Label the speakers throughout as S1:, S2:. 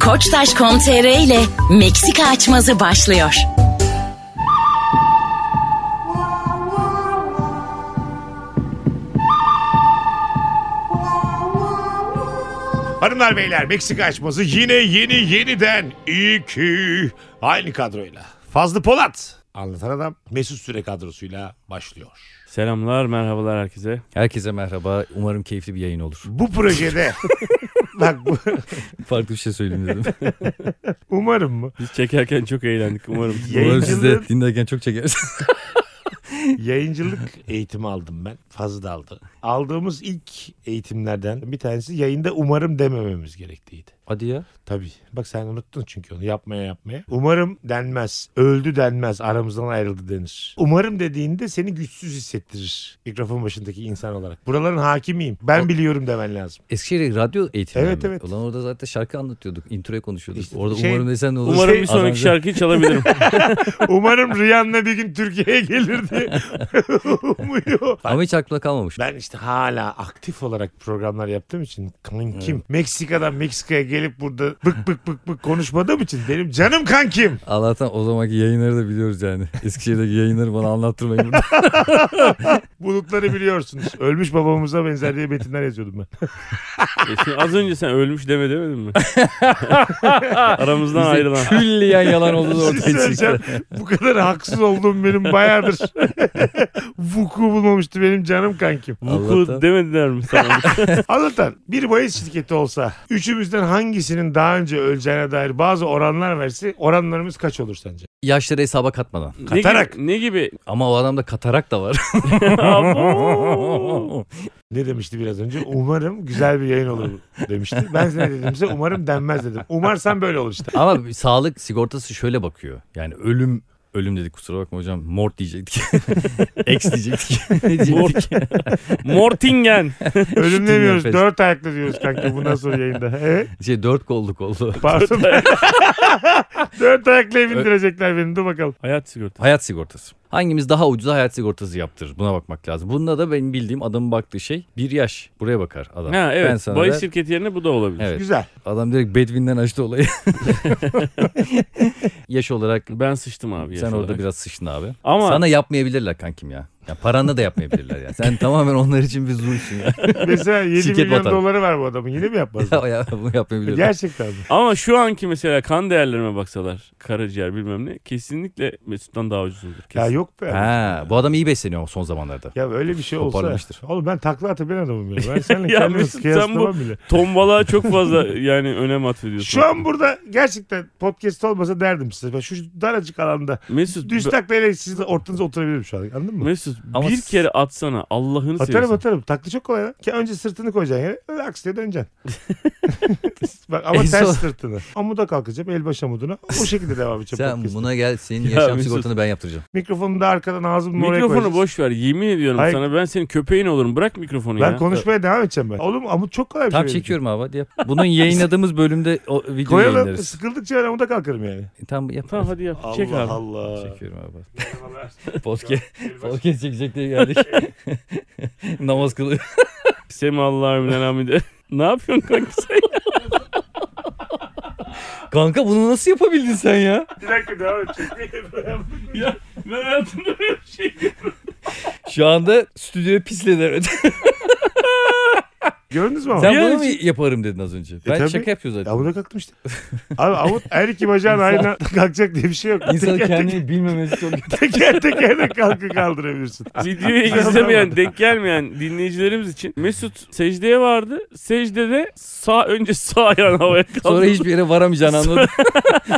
S1: Koçtaş.com.tr ile Meksika açmazı başlıyor.
S2: Hanımlar beyler Meksika açması yine yeni yeniden iki aynı kadroyla. Fazlı Polat anlatan adam Mesut Süre kadrosuyla başlıyor.
S3: Selamlar, merhabalar herkese.
S4: Herkese merhaba. Umarım keyifli bir yayın olur.
S2: Bu projede bak bu,
S4: Farklı bir şey söyleyeyim dedim.
S2: umarım mı?
S3: Biz çekerken çok eğlendik umarım.
S4: Umarım siz de
S2: Yayıncılık,
S4: dinlerken çok çekersiniz.
S2: yayıncılık eğitimi aldım ben. Fazla da aldı. Aldığımız ilk eğitimlerden bir tanesi yayında umarım demememiz gerektiğiydi.
S4: Hadi ya.
S2: Tabii. Bak sen unuttun çünkü onu yapmaya yapmaya. Umarım denmez. Öldü denmez. Aramızdan ayrıldı denir. Umarım dediğinde seni güçsüz hissettirir. Mikrofon başındaki insan olarak. Buraların hakimiyim. Ben biliyorum demen lazım.
S4: Eskişehir radyo eğitimi.
S2: Evet, evet.
S4: Ulan orada zaten şarkı anlatıyorduk. Introya konuşuyorduk.
S2: İşte
S4: orada
S2: şey-
S4: umarım desen ne olur.
S3: Umarım bir sonraki
S4: Aranjör-
S3: şarkıyı çalabilirim.
S2: Umarım Rihanna bir gün Türkiye'ye gelir diye umuyor.
S4: Ama hiç aklımda kalmamış.
S2: Ben işte hala aktif olarak programlar yaptığım için kankim Meksika'dan Meksika'ya gelip burada bık bık bık bık konuşmadığım için benim canım kankim.
S4: Allah'tan o zamanki yayınları da biliyoruz yani. Eskişehir'deki yayınları bana anlattırmayın burada.
S2: Bulutları biliyorsunuz. Ölmüş babamıza benzer diye metinler yazıyordum ben.
S3: E şimdi az önce sen ölmüş deme demedin mi? Aramızdan ayrılan.
S4: Külliyen yalan olduğu
S2: Bir şey
S4: ortaya çıktı.
S2: söyleyeceğim. Bu kadar haksız olduğum benim bayağıdır. Vuku bulmamıştı benim canım kankim.
S3: Vuku
S4: Allah'tan.
S3: demediler mi sana?
S2: Anlatan bir bahis şirketi olsa üçümüzden hangisinin daha önce öleceğine dair bazı oranlar verse oranlarımız kaç olur sence?
S4: Yaşları hesaba katmadan.
S2: Katarak.
S3: Ne gibi?
S4: Ama o adamda katarak da var.
S3: Ne gibi? Abo!
S2: Ne demişti biraz önce? Umarım güzel bir yayın olur demişti. Ben size ne dediğimse umarım denmez dedim. Umarsan böyle olur işte.
S4: Ama bir sağlık sigortası şöyle bakıyor. Yani ölüm ölüm dedik kusura bakma hocam. Mort diyecektik. Ex diyecektik. ne diyecektik?
S3: Mortingen.
S2: Ölüm demiyoruz.
S4: Nefes.
S2: Dört ayaklı diyoruz kanka bundan sonra yayında. Evet.
S4: Şey dört kolluk oldu.
S2: Pardon. Dört ayaklı evindirecekler beni. Dur bakalım.
S3: Hayat sigortası.
S4: Hayat sigortası. Hangimiz daha ucuza hayat sigortası yaptırır? Buna bakmak lazım. Bunda da benim bildiğim adamın baktığı şey bir yaş. Buraya bakar adam.
S3: Ha
S4: Ben
S3: evet.
S4: sana
S3: Bahis
S4: da-
S3: şirketi yerine bu da olabilir.
S4: Evet.
S2: Güzel.
S4: Adam direkt Bedvin'den açtı olayı. yaş olarak
S3: Ben sıçtım abi. yaş
S4: sen orada
S3: olarak.
S4: biraz sıçtın abi.
S3: Ama
S4: Sana yapmayabilirler kankim ya. ya paranla da yapmayabilirler ya. Sen tamamen onlar için bir zulmsün ya.
S2: Mesela 7
S4: Şirket
S2: milyon
S4: batar.
S2: doları var bu adamın. Yine mi yapmaz?
S4: ya, ya bunu yapmayabilirler.
S2: Gerçekten mi?
S3: ama şu anki mesela kan değerlerime baksalar karaciğer bilmem ne kesinlikle Mesut'tan daha ucuzdur. Kesin.
S2: Ya yok be.
S4: Ha, bu adam iyi besleniyor son zamanlarda.
S2: Ya böyle bir şey olsa.
S4: Toparlamıştır.
S2: Oğlum ben takla atabilen adamım ya. Ben seninle
S3: Ya
S2: kendimi
S3: Mesut, sen
S2: kıyaslamam bile.
S3: Tombalığa çok fazla yani önem atfediyorsun.
S2: Şu an burada gerçekten podcast olmasa derdim size. Ben şu daracık alanda
S3: Mesut
S2: düz taklayla siz de ortanıza oturabilirim şu an. Anladın mı?
S3: Mesut
S4: Ama
S3: bir
S4: s-
S3: kere atsana Allah'ını
S2: Atarım
S3: seversen.
S2: atarım. Takla çok kolay lan. Ki önce sırtını koyacaksın yere. Öyle aksiye döneceksin. Bak ama
S4: En son-
S2: ters sırtını. Amuda kalkacağım. El baş amuduna. O şekilde devam edeceğim.
S4: Sen
S2: podcast'ı.
S4: buna gel senin
S3: Ya
S4: yaşam
S3: Mesut.
S4: sigortanı ben yaptıracağım.
S2: Mikrofonu da arkadan ağzımın oraya
S3: Mikrofonu
S2: koyacağız.
S3: boş ver. Yemin ediyorum
S2: Hayır.
S3: sana ben senin köpeğin olurum. Bırak mikrofonu
S2: Ben
S3: ya.
S2: konuşmaya devam edeceğim ben. Oğlum amut çok kolay bir
S4: Tam
S2: şey. benim için.
S4: çekiyorum abi hadi yap. Bunun yayınladığımız bölümde o video
S2: Koyalım.
S4: yayınlarız.
S2: Sıkıldıkça ben amuda kalkarım yani.
S4: Tam yap.
S3: Tamam hadi yap. Çek abi.
S2: Allah.
S4: Çekiyorum abi. Podcast, podcast çekecek diye geldik. Namaz kılıyor.
S3: Sema Allah'ım inen hamide. ne yapıyorsun kanka sen?
S4: Kanka bunu nasıl yapabildin sen ya?
S2: Bir dakika devam edeceğim.
S3: ya ben hayatımda böyle bir şey.
S4: Şu anda stüdyoya pisledi evet.
S2: Gördünüz mü ama?
S4: sen
S3: Bir an
S4: bunu mu yaparım dedin az önce? Ben
S2: E, tabii.
S4: şaka yapıyor zaten.
S2: Amuda kalktım işte. Abi amut her iki bacağın aynı anda kalkacak diye bir şey yok.
S4: İnsanın
S2: teker,
S4: kendini bilmemesi çok kötü.
S2: teker, teker teker de kalkı kaldırabilirsin.
S3: Videoyu izlemeyen, denk gelmeyen dinleyicilerimiz için Mesut secdeye vardı. Secdede sağ önce sağ ayağını havaya kaldırdı.
S4: Sonra hiçbir yere varamayacağını anladım.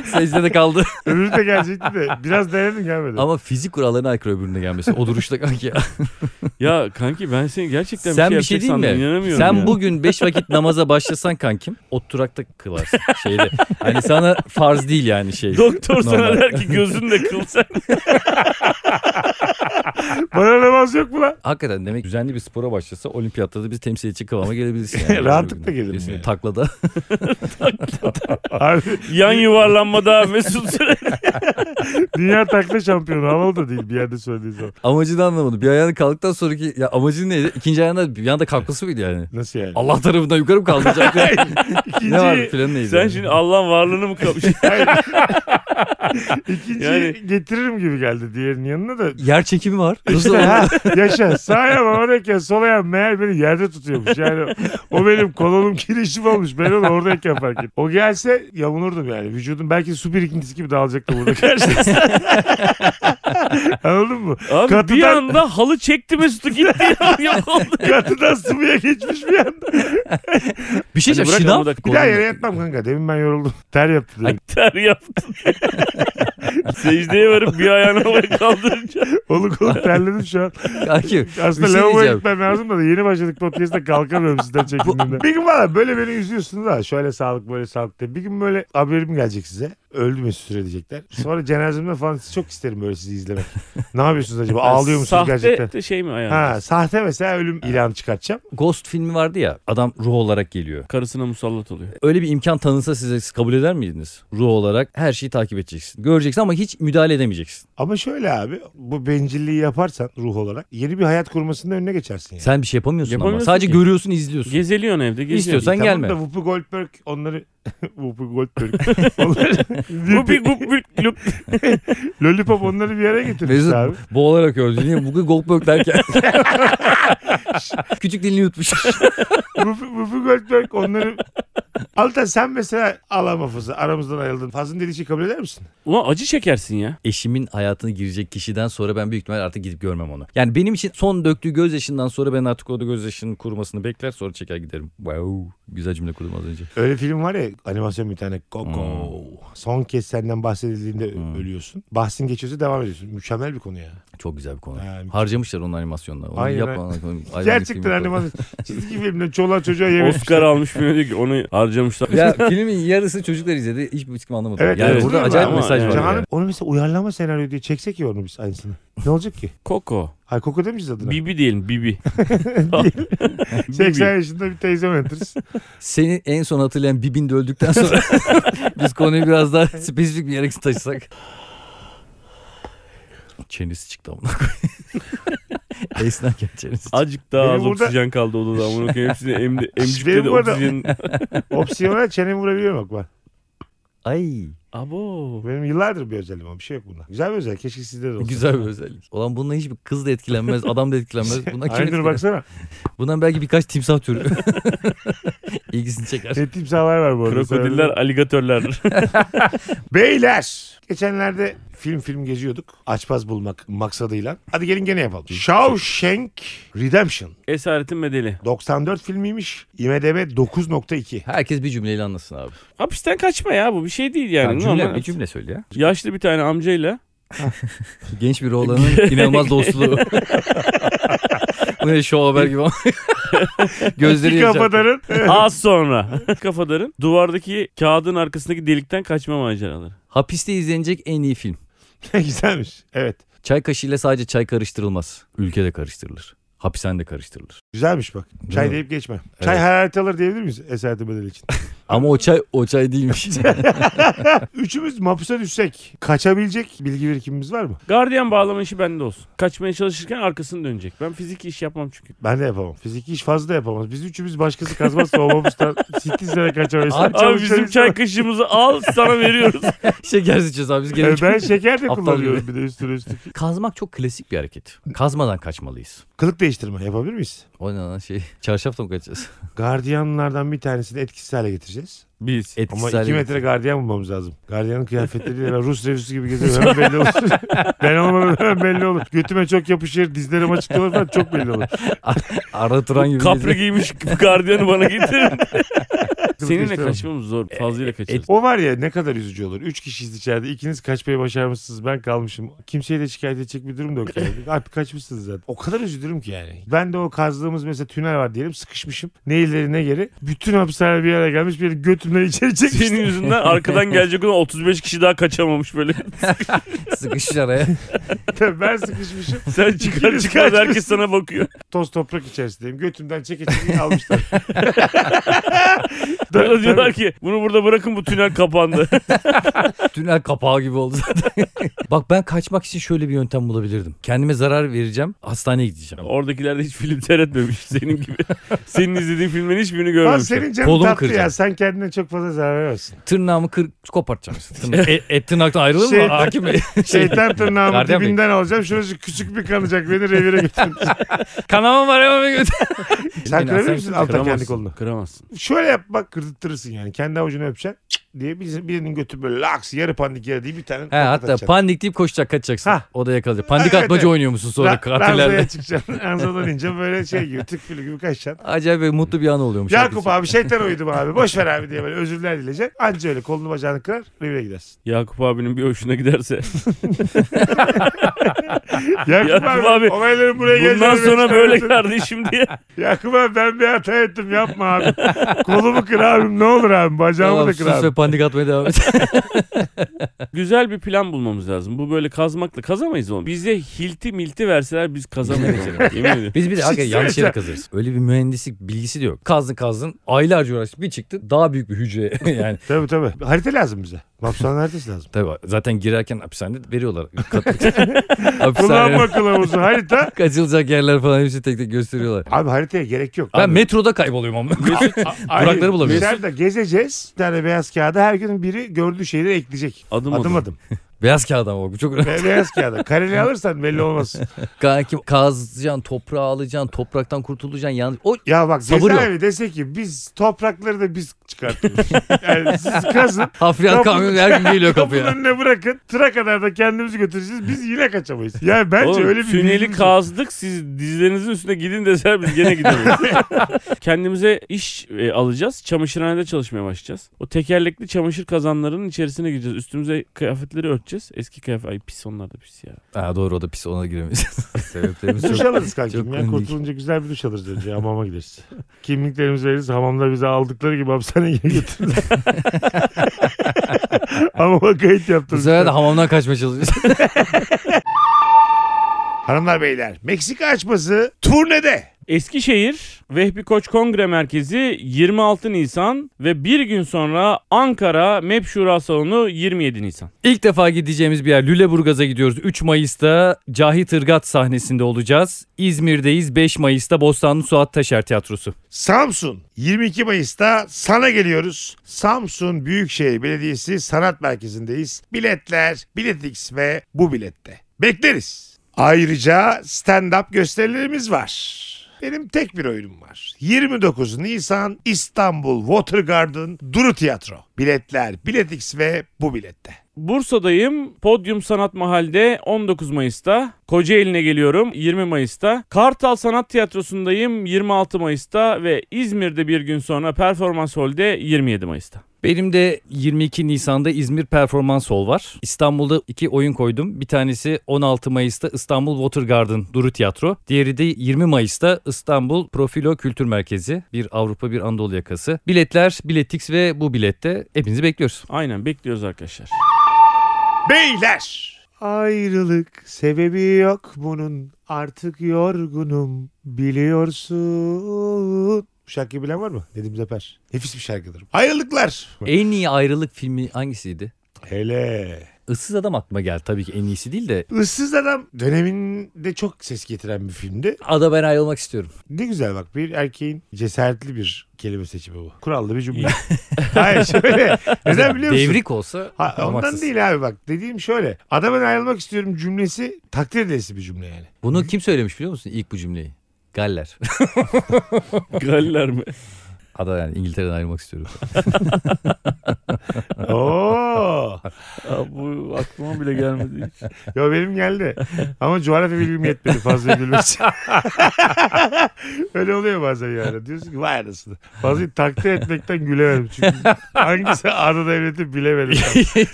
S4: Secdede kaldı.
S2: Öbürü de gelecekti de biraz denedim gelmedi.
S4: Ama fizik kurallarına aykırı öbürüne gelmesi. O duruşta kanki ya.
S3: Ya kanki ben seni gerçekten
S4: Sen
S3: bir
S4: bir
S3: şey
S4: şey değil
S3: yapacak sandım.
S4: mi?
S3: İnanamıyorum
S4: Sen
S3: ya.
S4: bugün 5 vakit namaza başlasan kankim oturakta kılarsın şeyde. Hani sana farz değil yani şey.
S3: Doktor sana
S4: Normal.
S3: der ki gözünle kıl sen.
S2: Bana namaz yok mu lan?
S4: Hakikaten demek düzenli bir spora başlasa olimpiyatta da biz temsilci kıvama gelebilirsin. Yani.
S2: Rahatlıkla gelirim
S4: Kesinlikle.
S2: yani.
S4: Taklada.
S2: Abi
S3: Yan yuvarlanmada Mesut Süre.
S2: dünya takla şampiyonu havalı da değil bir yerde söylediği zaman.
S4: Amacını anlamadım. Bir ayağını kalktıktan sonraki ya amacın neydi? İkinci ayağında bir anda kalkması mıydı yani?
S2: Nasıl yani?
S4: Allah tarafından yukarı mı kaldıracaktı?
S2: İkinci,
S4: ne vardı planı neydi?
S3: Sen şimdi Allah'ın varlığını mı kapmış?
S2: ikinci
S3: Yani-
S2: getiririm gibi geldi diğerinin yanına da.
S4: Yer çekimi var.
S2: İşte
S4: Nasıl
S2: ha, yaşa sağ ayağım havadayken sol ayağım meğer beni yerde tutuyormuş. Yani o benim kolonum kirişim olmuş. Ben onu oradayken fark ettim. O gelse yamulurdum yani. Vücudum belki su birikintisi gibi dağılacaktı burada karşısında. Anladın mı?
S3: Abi bir
S2: Katıdan-
S3: anda halı çekti Mesut'u gitti ya. Yok
S4: Şey
S3: oldu.
S2: Katıdan sıvıya geçmiş bir anda.
S4: bir şey
S3: Hadi
S4: diyeceğim.
S3: bırak
S4: Şınav.
S3: ama da
S2: Bir daha yere yatmam kanka. Demin ben yoruldum. Ter yaptı dedim.
S3: Ter yaptın. Secdeye varıp bir ayağını havaya kaldırınca.
S2: Olu kolu terledim şu an.
S4: Kanki,
S2: Aslında
S4: Bir şey
S2: lavaboya
S4: diyeceğim.
S2: gitmem lazım da yeni başladık podcast'ta kalkamıyorum sizden çekindiğimden. Bir gün valla böyle beni üzüyorsunuz ha. Şöyle sağlık böyle sağlık diye. Bir gün böyle haberim gelecek size. Öldü Mesut Süre diyecekler. Sonra cenazemde falan sizi çok isterim böyle sizi izlemek. ne yapıyorsunuz acaba? Ağlıyor musunuz
S3: Sahte
S2: gerçekten?
S3: de şey mi ayağını?
S2: Ha, sahte mesela ölüm ilanı çıkartacağım.
S4: Ghost filmi vardı ya. Adam ruh olarak geliyor.
S3: Karısına musallat oluyor.
S4: Öyle bir imkan tanınsa size siz kabul eder miydiniz? Ruh olarak her şeyi takip edeceksin. Göreceksin ama hiç müdahale edemeyeceksin.
S2: Ama şöyle abi bu bencilliği yaparsan ruh olarak yeni bir hayat kurmasının önüne geçersin yani.
S4: Sen bir şey yapamıyorsun,
S3: Yapamıyorsun
S4: ama. Sadece
S3: ki.
S4: görüyorsun, izliyorsun.
S3: Gezeliyorsun evde geziyorsun.
S4: İstiyorsan
S2: Tamam
S4: gelme.
S2: da Whoopi Goldberg onları Whoopi Goldberg. onları,
S3: Bu bir bu bir lüp.
S2: Lollipop onları bir yere getirmiş
S4: Mesut
S2: abi.
S4: boğularak öldü. Niye? Bugün Goldberg derken. Küçük dilini yutmuş.
S2: Whoopi Whoopi Goldberg onları... Altan sen mesela alama Faz'ı aramızdan ayrıldın. Faz'ın dediği şeyi kabul eder misin?
S3: Ulan acı çekersin ya.
S4: Eşimin hayatına girecek kişiden sonra ben büyük ihtimal artık gidip görmem onu. Yani benim için son döktüğü gözyaşından sonra ben artık o da gözyaşının kurumasını bekler sonra çeker giderim. Wow. Güzel cümle kurdum az önce.
S2: Öyle film var ya animasyon bir tane Coco.
S4: Hmm.
S2: Son kez senden bahsedildiğinde ölüyorsun. Bahsin geçiyorsa devam ediyorsun. Mükemmel bir konu ya.
S4: Çok güzel bir konu.
S2: Ha,
S4: Harcamışlar onun animasyonlarını. Onu
S2: Aynen,
S4: yapma. Hayvan filmi
S2: Gerçekten
S4: koy.
S2: animasyon. Çizgi filmde çoluğa çocuğa yemiş.
S3: Oscar almış mı diyor ki onu harcamışlar.
S4: Ya filmin yarısı çocuklar izledi. Hiç bu çıkma anlamadım.
S2: Evet,
S4: yani
S3: evet.
S4: burada
S3: Ama-
S4: acayip
S3: ama
S4: mesaj var.
S3: yani.
S4: yani.
S2: Canan'ın onu mesela uyarlama senaryo diye çeksek ya onu biz aynısını. Ne olacak ki?
S3: Koko.
S2: Hay Coco demeyeceğiz adına.
S3: Bibi diyelim Bibi.
S2: 80
S3: Bibi.
S2: yaşında bir teyze yönetiriz.
S4: Seni en son hatırlayan Bibin de öldükten sonra biz konuyu biraz daha spesifik bir yere taşısak. Çenesi çıktı amına koyayım. Esnerken çenesi çıktı.
S3: Azıcık daha
S2: Benim
S3: az
S2: burada-
S3: oksijen kaldı odada. Bunu hepsini emdi, emcikte
S2: Benim
S3: de
S2: burada-
S3: oksijen.
S2: Opsiyona çenemi vurabiliyorum bak ben.
S4: Ay
S3: Abo.
S2: Benim yıllardır bir özelliğim ama bir şey yok bunda. Güzel bir özellik. Keşke sizde de olsa.
S4: güzel bir özellik. Olan bununla hiçbir kız da etkilenmez, adam da etkilenmez. Bundan kim
S2: Aynı
S4: etkilenir?
S2: baksana.
S4: Bundan belki birkaç timsah türü. İlgisini çeker.
S2: Ne tip sağlar var bu arada.
S3: Krokodiller, aligatörler.
S2: Beyler. Geçenlerde film film geziyorduk. Açpaz bulmak maksadıyla. Hadi gelin gene yapalım. Shawshank Redemption.
S3: Esaretin bedeli.
S2: 94 filmiymiş. IMDB 9.2.
S4: Herkes bir cümleyle anlasın abi.
S3: Hapisten kaçma ya bu bir şey değil yani.
S4: Yani cümle,
S3: Normal.
S4: bir cümle söyle ya.
S3: Yaşlı bir tane amcayla
S4: Genç bir oğlanın inanılmaz dostluğu. Bu ne şov haber gibi ama. Gözleri
S2: İki
S4: yaşartıyor.
S2: kafadarın.
S3: az sonra kafadarın duvardaki kağıdın arkasındaki delikten kaçma maceraları.
S4: Hapiste izlenecek en iyi film.
S2: Güzelmiş. Evet.
S4: Çay kaşığıyla sadece çay karıştırılmaz. Ülkede karıştırılır. Hapishanede karıştırılır.
S2: Güzelmiş bak. Çay
S4: mi?
S2: deyip geçme. Çay
S4: Evet.
S2: hararet alır diyebilir miyiz esaretin bedeli için?
S4: Ama o çay o çay değilmiş.
S2: Üçümüz mapusa düşsek kaçabilecek bilgi birikimimiz var mı?
S3: Gardiyan bağlama işi bende olsun. Kaçmaya çalışırken arkasını dönecek. Ben fizik iş yapmam çünkü.
S2: Ben de yapamam. Fiziki iş fazla da yapamaz. Biz üçümüz başkası kazmazsa o mapustan sittin sene kaçamayız.
S4: Abi
S3: Abi
S2: Çavuş
S3: bizim
S2: çavuş
S3: çay kaşığımızı al sana veriyoruz.
S4: Şeker içeceğiz abi biz
S2: Ee,
S4: gene.
S2: ben şeker de
S4: Aptal
S2: kullanıyorum bir de üstüne üstlük.
S4: Kazmak çok klasik bir hareket. Kazmadan kaçmalıyız.
S2: Kılık değiştirme yapabilir miyiz?
S4: O ne lan şey çarşafla mı kaçacağız?
S2: Gardiyanlardan bir tanesini etkisiz hale getireceğiz.
S3: Biz.
S4: Etkisiz
S2: Ama 2
S4: hale-
S2: metre gardiyan bulmamız lazım. Gardiyanın kıyafetleriyle ben Rus revüsü gibi geziyorum. Hemen belli olur. ben olmadan hemen belli olur. Götüme çok yapışır, dizlerim açık kalır falan çok belli olur.
S4: Ara Turan gibi.
S3: Kapri giymiş gardiyanı bana getirin.
S2: hakkını
S3: Seninle
S2: kaçıramam.
S3: kaçmamız zor. Fazlıyla kaçarız.
S2: O var ya ne kadar üzücü olur. Üç kişiyiz içeride. İkiniz kaçmayı başarmışsınız. Ben kalmışım. Kimseye de şikayet edecek bir durum da yok. Yani. Abi kaçmışsınız zaten. O kadar üzülürüm ki yani. Ben de o kazdığımız mesela tünel var diyelim. Sıkışmışım. Ne ileri ne geri. Bütün hapishane bir yere gelmiş. Beni götümden içeri çekmiş.
S3: Senin yüzünden arkadan gelecek olan 35 kişi daha kaçamamış böyle.
S4: Sıkışır araya.
S2: ben sıkışmışım.
S3: Sen çıkar
S2: İkiniz
S3: çıkar herkes
S2: kaçmışsınız.
S3: sana bakıyor.
S2: Toz toprak içerisindeyim. Götümden çeke çeke almışlar. Tabii,
S3: Bana diyorlar
S2: tabii.
S3: ki bunu burada bırakın bu tünel kapandı.
S4: Tünel kapağı gibi oldu zaten. Bak ben kaçmak için şöyle bir yöntem bulabilirdim. Kendime zarar vereceğim. Hastaneye gideceğim.
S3: Oradakiler de hiç film seyretmemiş senin gibi. Senin izlediğin filmlerin hiçbirini
S2: Lan
S4: şey.
S3: görmemişler.
S2: senin canın
S4: Kolum
S2: tatlı
S4: kıracağım.
S2: ya. Sen kendine çok fazla zarar veremezsin.
S4: Tırnağımı kır kopartacağım. işte. Tırnak, e, et tırnaktan ayrılır
S2: Şey-
S4: mı hakim bey?
S2: Şeytan tırnağımı
S4: Gardiyan Bey.
S2: dibinden alacağım. Şurası küçük bir kanacak. Beni revire götürün.
S4: Kanamam var hemen bir götür.
S2: Sen kırabilir misin alttan kendi
S3: Kıramazsın,
S2: kolunu?
S3: Kıramazsın.
S2: Şöyle yap bak kırtırırsın yani. Kendi avucunu öpeceksin cık diye birisi- birinin götü böyle laks yarı pandik yere diye bir tane
S4: He, hatta
S2: atacaksın.
S4: panik deyip koşacak kaçacaksın.
S2: Hah.
S4: Odaya kalacak. Pandik
S2: Evet,
S4: atmaca
S2: evet.
S4: oynuyor musun sonra
S2: Ra-
S4: katillerle?
S2: ranzaya çıkacaksın. Ranzadan ince böyle şey gibi tık fili gibi kaçacaksın.
S4: Acayip bir mutlu bir an oluyormuş.
S2: Yakup
S4: herkes
S2: abi şeytan uydum abi. Boş ver abi diye böyle özürler dileyeceksin. Anca öyle kolunu bacağını kırar revire gidersin.
S3: Yakup abinin bir hoşuna giderse.
S2: Yakup,
S3: Yakup
S2: abi,
S3: abi,
S2: olayların buraya geleceğini
S3: Bundan sonra
S2: ben
S3: böyle
S2: çıkarmadım.
S3: kardeşim diye.
S2: Yakup abi ben bir hata ettim yapma abi. Kolumu kır abim ne olur abim bacağımı
S4: Tamam
S2: da kır
S4: sus ve
S2: abim.
S4: panik atmaya devam et.
S3: Güzel bir plan bulmamız lazım. Bu böyle kazmakla kazamayız oğlum. Bize hilti milti verseler biz kazamayız. oğlum. Yemin ediyorum.
S4: Biz bir de hakikaten yanlış
S2: söyleyeceğim.
S4: yere kazırız. Öyle bir mühendislik bilgisi de yok. Kazdın kazdın aylarca uğraştık bir çıktı daha büyük bir hücre yani.
S2: Tabii tabii. Harita lazım bize. Mapsan haritası lazım.
S4: Tabii zaten girerken hapishanede veriyorlar. Kat-
S2: Kullanma
S4: Hapishane
S2: kılavuzu harita.
S4: kaçılacak yerler falan hepsi tek tek gösteriyorlar.
S2: Abi haritaya gerek yok.
S4: Ben
S2: Abi-
S4: metroda kayboluyorum ama.
S2: Hayır,
S4: Durakları bulamıyoruz.
S2: Dışarıda gezeceğiz. Bir tane beyaz kağıda her gün biri gördüğü şeyleri ekleyecek.
S3: Adım
S2: Adım
S3: adım.
S2: adım.
S4: Beyaz kağıt ama bu çok önemli.
S2: Be- beyaz kağıda. Kareli alırsan belli olmaz.
S4: Kanki kazacaksın, toprağı alacaksın, topraktan kurtulacaksın. Yalnız... O
S2: Ya bak
S4: Sabır yok.
S2: cezaevi dese ki biz toprakları da biz çıkartıyoruz. yani siz kazın.
S4: hafriyat
S2: Kapı-
S4: kamyonu her gün geliyor
S2: Kapının
S4: kapıya.
S2: önüne bırakın. Tıra kadar da kendimizi götüreceğiz. Biz yine kaçamayız. Yani bence
S3: Oğlum,
S2: öyle bir
S3: tüneli
S2: bilgimiz yok.
S3: kazdık siz dizlerinizin üstüne gidin deseler biz gene gidiyoruz. Kendimize iş e, alacağız. Çamaşırhanede çalışmaya başlayacağız. O tekerlekli çamaşır kazanlarının içerisine gireceğiz. Üstümüze kıyafetleri örteceğiz. Eski kıyafet. Ay pis onlar da pis ya.
S4: Ha, doğru o da pis ona da giremeyiz. Sebeplerimiz
S2: Duş
S4: çok.
S2: alırız kankim
S4: çok
S2: ya.
S4: komik.
S2: Kurtulunca güzel bir duş alırız önce. Hamama gideriz. Kimliklerimizi veririz. Hamamda bizi aldıkları gibi hapishaneye geri götürürüz. Hamama kayıt
S4: Bu
S2: yaptırırız.
S4: sefer de hamamdan kaçmaya çalışıyoruz.
S2: Hanımlar beyler Meksika açması turnede.
S3: Eskişehir Vehbi Koç Kongre Merkezi 26 Nisan ve bir gün sonra Ankara MEP Şura Salonu 27 Nisan.
S4: İlk defa gideceğimiz bir yer Lüleburgaz'a gidiyoruz. 3 Mayıs'ta Cahit Irgat sahnesinde olacağız. İzmir'deyiz 5 Mayıs'ta Bostanlı Suat Taşer Tiyatrosu.
S2: Samsun 22 Mayıs'ta sana geliyoruz. Samsun Büyükşehir Belediyesi Sanat Merkezi'ndeyiz. Biletler Biletix ve bu bilette. Bekleriz. Ayrıca stand-up gösterilerimiz var. Benim tek bir oyunum var. 29 Nisan İstanbul Water Garden Duru Tiyatro. Biletler Biletix ve bu bilette.
S3: Bursa'dayım. Podyum Sanat Mahal'de 19 Mayıs'ta. Kocaeli'ne geliyorum 20 Mayıs'ta. Kartal Sanat Tiyatrosu'ndayım 26 Mayıs'ta ve İzmir'de bir gün sonra Performans Hall'de 27 Mayıs'ta.
S4: Benim de 22 Nisan'da İzmir Performans Hall var. İstanbul'da iki oyun koydum. Bir tanesi 16 Mayıs'ta İstanbul Water Garden Duru Tiyatro. Diğeri de 20 Mayıs'ta İstanbul Profilo Kültür Merkezi. Bir Avrupa bir Anadolu yakası. Biletler, Biletix ve bu bilette hepinizi bekliyoruz.
S3: Aynen bekliyoruz arkadaşlar.
S2: Beyler. Ayrılık sebebi yok bunun. Artık yorgunum biliyorsun. Bu şarkıyı bilen var mı? Nedim Zeper. Nefis bir şarkıdır. Ayrılıklar.
S4: En iyi ayrılık filmi hangisiydi?
S2: Hele.
S4: Issız Adam aklıma geldi. Tabii ki en iyisi değil de.
S2: Issız Adam döneminde çok ses getiren bir filmdi.
S4: Ada ben ayrılmak istiyorum.
S2: Ne güzel bak bir erkeğin cesaretli bir kelime seçimi bu. Kurallı bir cümle. Hayır şöyle. Neden biliyor musun?
S4: Devrik olsa
S2: Ha, ondan
S4: olmaksız.
S2: değil abi bak dediğim şöyle. Adamın ayrılmak istiyorum cümlesi takdir edilesi bir cümle yani.
S4: Bunu kim söylemiş biliyor musun ilk bu cümleyi? Galler.
S3: Galler mi?
S4: Ada yani İngiltere'den ayrılmak istiyorum.
S2: Oo.
S3: Aa, bu aklıma bile gelmedi hiç.
S2: Yo benim geldi. Ama coğrafya bilgim yetmedi fazla gülmesi. Öyle oluyor bazen yani. Diyorsun ki vay anasını. Fazla takdir etmekten gülemedim çünkü. Hangisi ana devleti bilemedim. tam.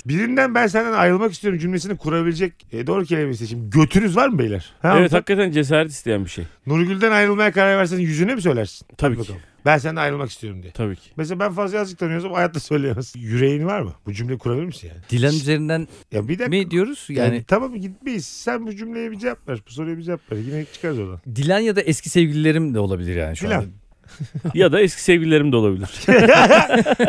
S2: Birinden ben senden ayrılmak istiyorum cümlesini kurabilecek e, doğru kelimeyi seçeyim. Götünüz var mı beyler? Ha,
S3: Evet hakikaten cesaret isteyen bir şey.
S2: Nurgül'den ayrılmaya karar versen yüzüne mi söylersin?
S3: Tabii ki.
S2: Bakalım. Ben senden ayrılmak istiyorum diye.
S3: Tabii ki.
S2: Mesela ben fazla yazık tanıyorsam hayatta söyleyemezsin. Yüreğin var mı? Bu cümleyi kurabilir misin yani?
S4: Dilan üzerinden
S2: Ya bir dakika.
S4: mi diyoruz?
S2: Yani,
S3: Hani-
S4: Yani
S2: tamam gitmeyiz. Sen bu cümleye bir cevap ver. Bu soruya bir cevap ver. Yine çıkarız oradan.
S4: Dilan ya da eski sevgililerim de olabilir yani şu
S2: Dilan.
S4: an.
S3: Ya da eski sevgililerim de olabilir.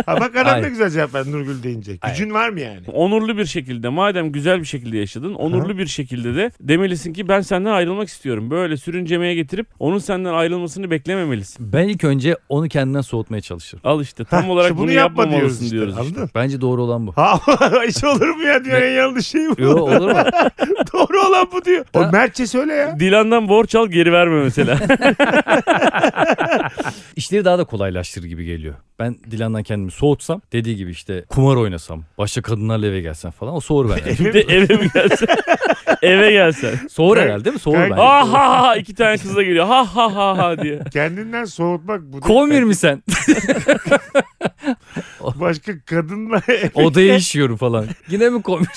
S2: Ha bak adam ne
S4: Hayır.
S2: güzel cevap verdi Nurgül deyince. Gücün var mı yani?
S3: onurlu bir şekilde madem güzel bir şekilde yaşadın onurlu bir şekilde de demelisin ki ben senden ayrılmak istiyorum. Böyle sürüncemeye getirip onun senden ayrılmasını beklememelisin.
S4: Ben ilk önce onu kendinden soğutmaya çalışırım.
S3: Al işte tam
S2: Ha,
S3: olarak
S2: işte
S3: bunu
S2: yapma
S3: yapmamalısın
S2: işte,
S3: diyoruz. işte.
S2: Anladın mı?
S4: Bence doğru olan bu.
S2: Ha hiç olur mu ya diyor en yanlış şey bu.
S4: Yo olur mu?
S2: Doğru olan bu diyor. O
S4: Ha.
S2: Mertçe söyle ya.
S3: Dilan'dan borç al geri verme mesela.
S4: İşleri daha da kolaylaştırır gibi geliyor. Ben Dilan'dan kendimi soğutsam dediği gibi işte kumar oynasam başka kadınlarla eve gelsem falan o soğur benden.
S3: Bir de eve mi gelsen? eve gelsen.
S4: soğur herhalde değil mi? Soğur
S2: Kanka-
S4: benden.
S3: Ha ha ha iki tane kız da geliyor. Ha ha ha ha diye.
S2: Kendinden soğutmak bu. da-
S4: Komür mi sen?
S2: Başka kadınla
S4: Odaya işiyorum falan. Yine mi komür?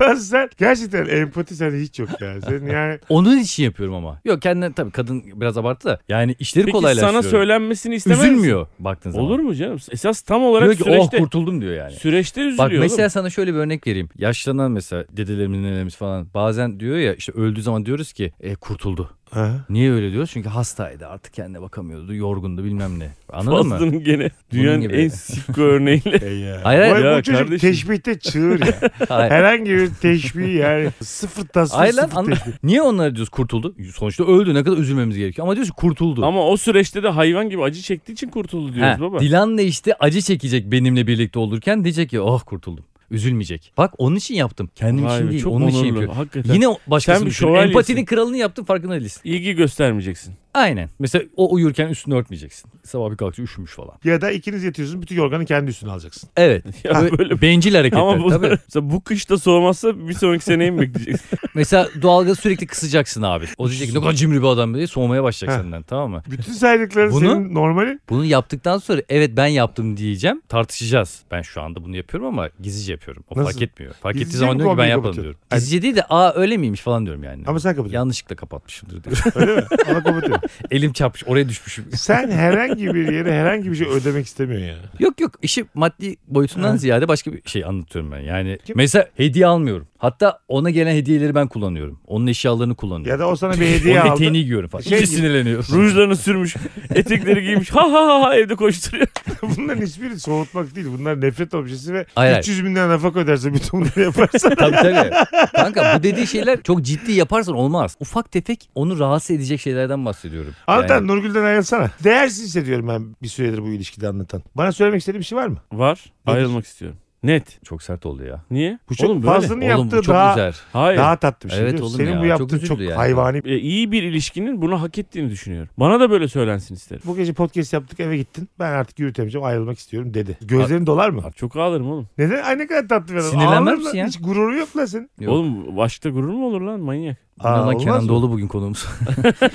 S2: yapmazsan gerçekten empati sende hiç yok ya. Senin yani
S4: Onun için yapıyorum ama. Yok kendine tabii kadın biraz abarttı da. Yani işleri
S3: Peki sana
S4: kolaylaştırıyorum.
S3: söylenmesini istemez misin?
S4: Üzülmüyor baktığın zaman.
S3: Olur mu canım? Esas tam olarak
S4: Diyor ki
S3: süreçte
S4: oh kurtuldum diyor yani.
S3: süreçte üzülüyor.
S4: Bak mesela
S3: oğlum.
S4: sana şöyle bir örnek vereyim. Yaşlanan mesela dedelerimiz nenelerimiz falan bazen diyor ya işte öldüğü zaman diyoruz ki e, kurtuldu.
S2: ha,
S4: Niye öyle diyoruz? Çünkü hastaydı artık kendine bakamıyordu yorgundu bilmem ne. Anladın mı?
S3: Fazlı'nın gene dünyanın
S4: gibi.
S3: en sikko örneğiyle.
S2: e ya.
S4: Hayır, hayır.
S2: Bu- bu
S3: Ya
S2: çocuk
S3: kardeşim.
S2: teşbihte çığır ya.
S4: Hayır.
S2: Herhangi bir teşbih yani sıfır tasvir
S4: Hayır lan
S2: sıfır
S4: anla- niye onlara diyoruz kurtuldu? Sonuçta öldü ne kadar üzülmemiz gerekiyor. Ama diyoruz ki kurtuldu.
S3: Ama o süreçte de hayvan gibi acı çektiği için kurtuldu diyoruz
S4: He,
S3: baba.
S4: Dilan da işte acı çekecek benimle birlikte olurken diyecek ki oh kurtuldum. Üzülmeyecek. Bak onun için yaptım. Kendim
S3: Vay
S4: için
S3: be,
S4: değil
S3: çok
S4: onun için
S3: onurlu.
S4: yapıyorum.
S3: Hakikaten.
S4: Yine o- başkasını
S3: bir
S4: düşün.
S3: şövalyesin.
S4: Empatinin kralını yaptım farkında değilsin.
S3: ilgi göstermeyeceksin.
S4: Aynen. Mesela o uyurken üstünü örtmeyeceksin. Sabah bir kalktı üşümüş falan.
S2: Ya da ikiniz yatıyorsunuz bütün yorganı kendi üstüne alacaksın.
S4: Evet.
S3: Ya
S4: Böyle
S3: böyle
S4: bencil hareketler.
S3: ama bu,
S4: Tabii.
S3: mesela bu kışta soğumazsa bir sonraki seneyi mi bekleyeceksin?
S4: Mesela doğalgazı sürekli kısacaksın abi. O diyecek ki ne kadar cimri bir adam diye soğumaya başlayacak
S2: Heh.
S4: senden tamam mı?
S2: Bütün saydıkların
S4: Bunu-
S2: senin normali.
S4: Bunu yaptıktan sonra evet ben yaptım diyeceğim. Tartışacağız. Ben şu anda bunu yapıyorum ama gizlice yapıyorum. O
S2: Nasıl?
S4: fark etmiyor. Fark
S2: Gizlice
S4: ettiği zaman
S2: mi
S4: diyor ki ben
S2: kombiyi
S4: yapmadım
S2: kapatıyorsun?
S4: diyorum. Gizlice değil de aa öyle miymiş falan diyorum yani.
S2: Ama sen kapatıyorsun.
S4: Yanlışlıkla kapatmışımdır diyor.
S2: Öyle mi? Ama kapatıyorum.
S4: Elim çarpmış oraya düşmüşüm.
S2: Sen herhangi bir yere herhangi bir şey ödemek istemiyorsun yani.
S4: Yok yok işi maddi boyutundan
S2: Ha.
S4: ziyade başka bir şey anlatıyorum ben. Yani
S2: Kim-
S4: mesela hediye almıyorum. Hatta ona gelen hediyeleri ben kullanıyorum. Onun eşyalarını kullanıyorum.
S2: Ya da o sana bir hediye
S4: Onun
S2: aldı.
S4: eteğini giyiyorum falan.
S2: Şey
S4: Şey
S2: gibi.
S4: sinirleniyor.
S3: Rujlarını sürmüş, etekleri giymiş. Ha ha ha ha evde koşturuyor.
S2: Bunların hiçbiri soğutmak değil. Bunlar nefret objesi ve
S4: Hayır, hayır.
S2: 300 bin lira nafaka öderse bütün bunları yaparsan.
S4: tabii tabii. Kanka bu dediği şeyler çok ciddi yaparsan olmaz. Ufak tefek onu rahatsız edecek şeylerden bahsediyorum.
S2: Anlatan
S4: Yani
S2: Nurgül'den ayrılsana. Değersiz hissediyorum ben bir süredir bu ilişkide anlatan. Bana söylemek istediğin bir şey var mı?
S3: Var.
S2: Nedir?
S3: Ayrılmak istiyorum. Net.
S4: çok sert oldu ya.
S3: Niye?
S2: Bu çok
S3: Oğlum böyle.
S2: fazlının
S4: Oğlum
S2: yaptığı
S4: bu çok
S2: daha,
S4: güzel.
S3: Hayır.
S2: daha tatlı bir şey.
S4: Evet
S2: biliyor musun?
S4: oğlum
S2: Senin bu
S4: ya, çok
S2: yaptığın çok,
S4: üzüldü yani.
S2: hayvani.
S3: E, iyi bir ilişkinin bunu hak ettiğini düşünüyorum. Bana da böyle söylensin isterim.
S2: Bu gece podcast yaptık eve gittin. Ben artık yürütemeyeceğim ayrılmak istiyorum dedi. Gözlerin dolar mı?
S3: Abi Çok ağlarım oğlum.
S2: Neden? Ay ne kadar tatlı bir adam.
S4: Sinirlenmez
S2: Ağlar
S4: misin
S2: lan.
S4: ya?
S2: Hiç gururu yok lan senin.
S4: Yok.
S3: Oğlum aşkta gurur mu olur lan manyak?
S2: Aa,
S4: Aa,
S2: olmaz
S4: Kenan
S2: mı?
S4: Doğulu bugün konuğumuz.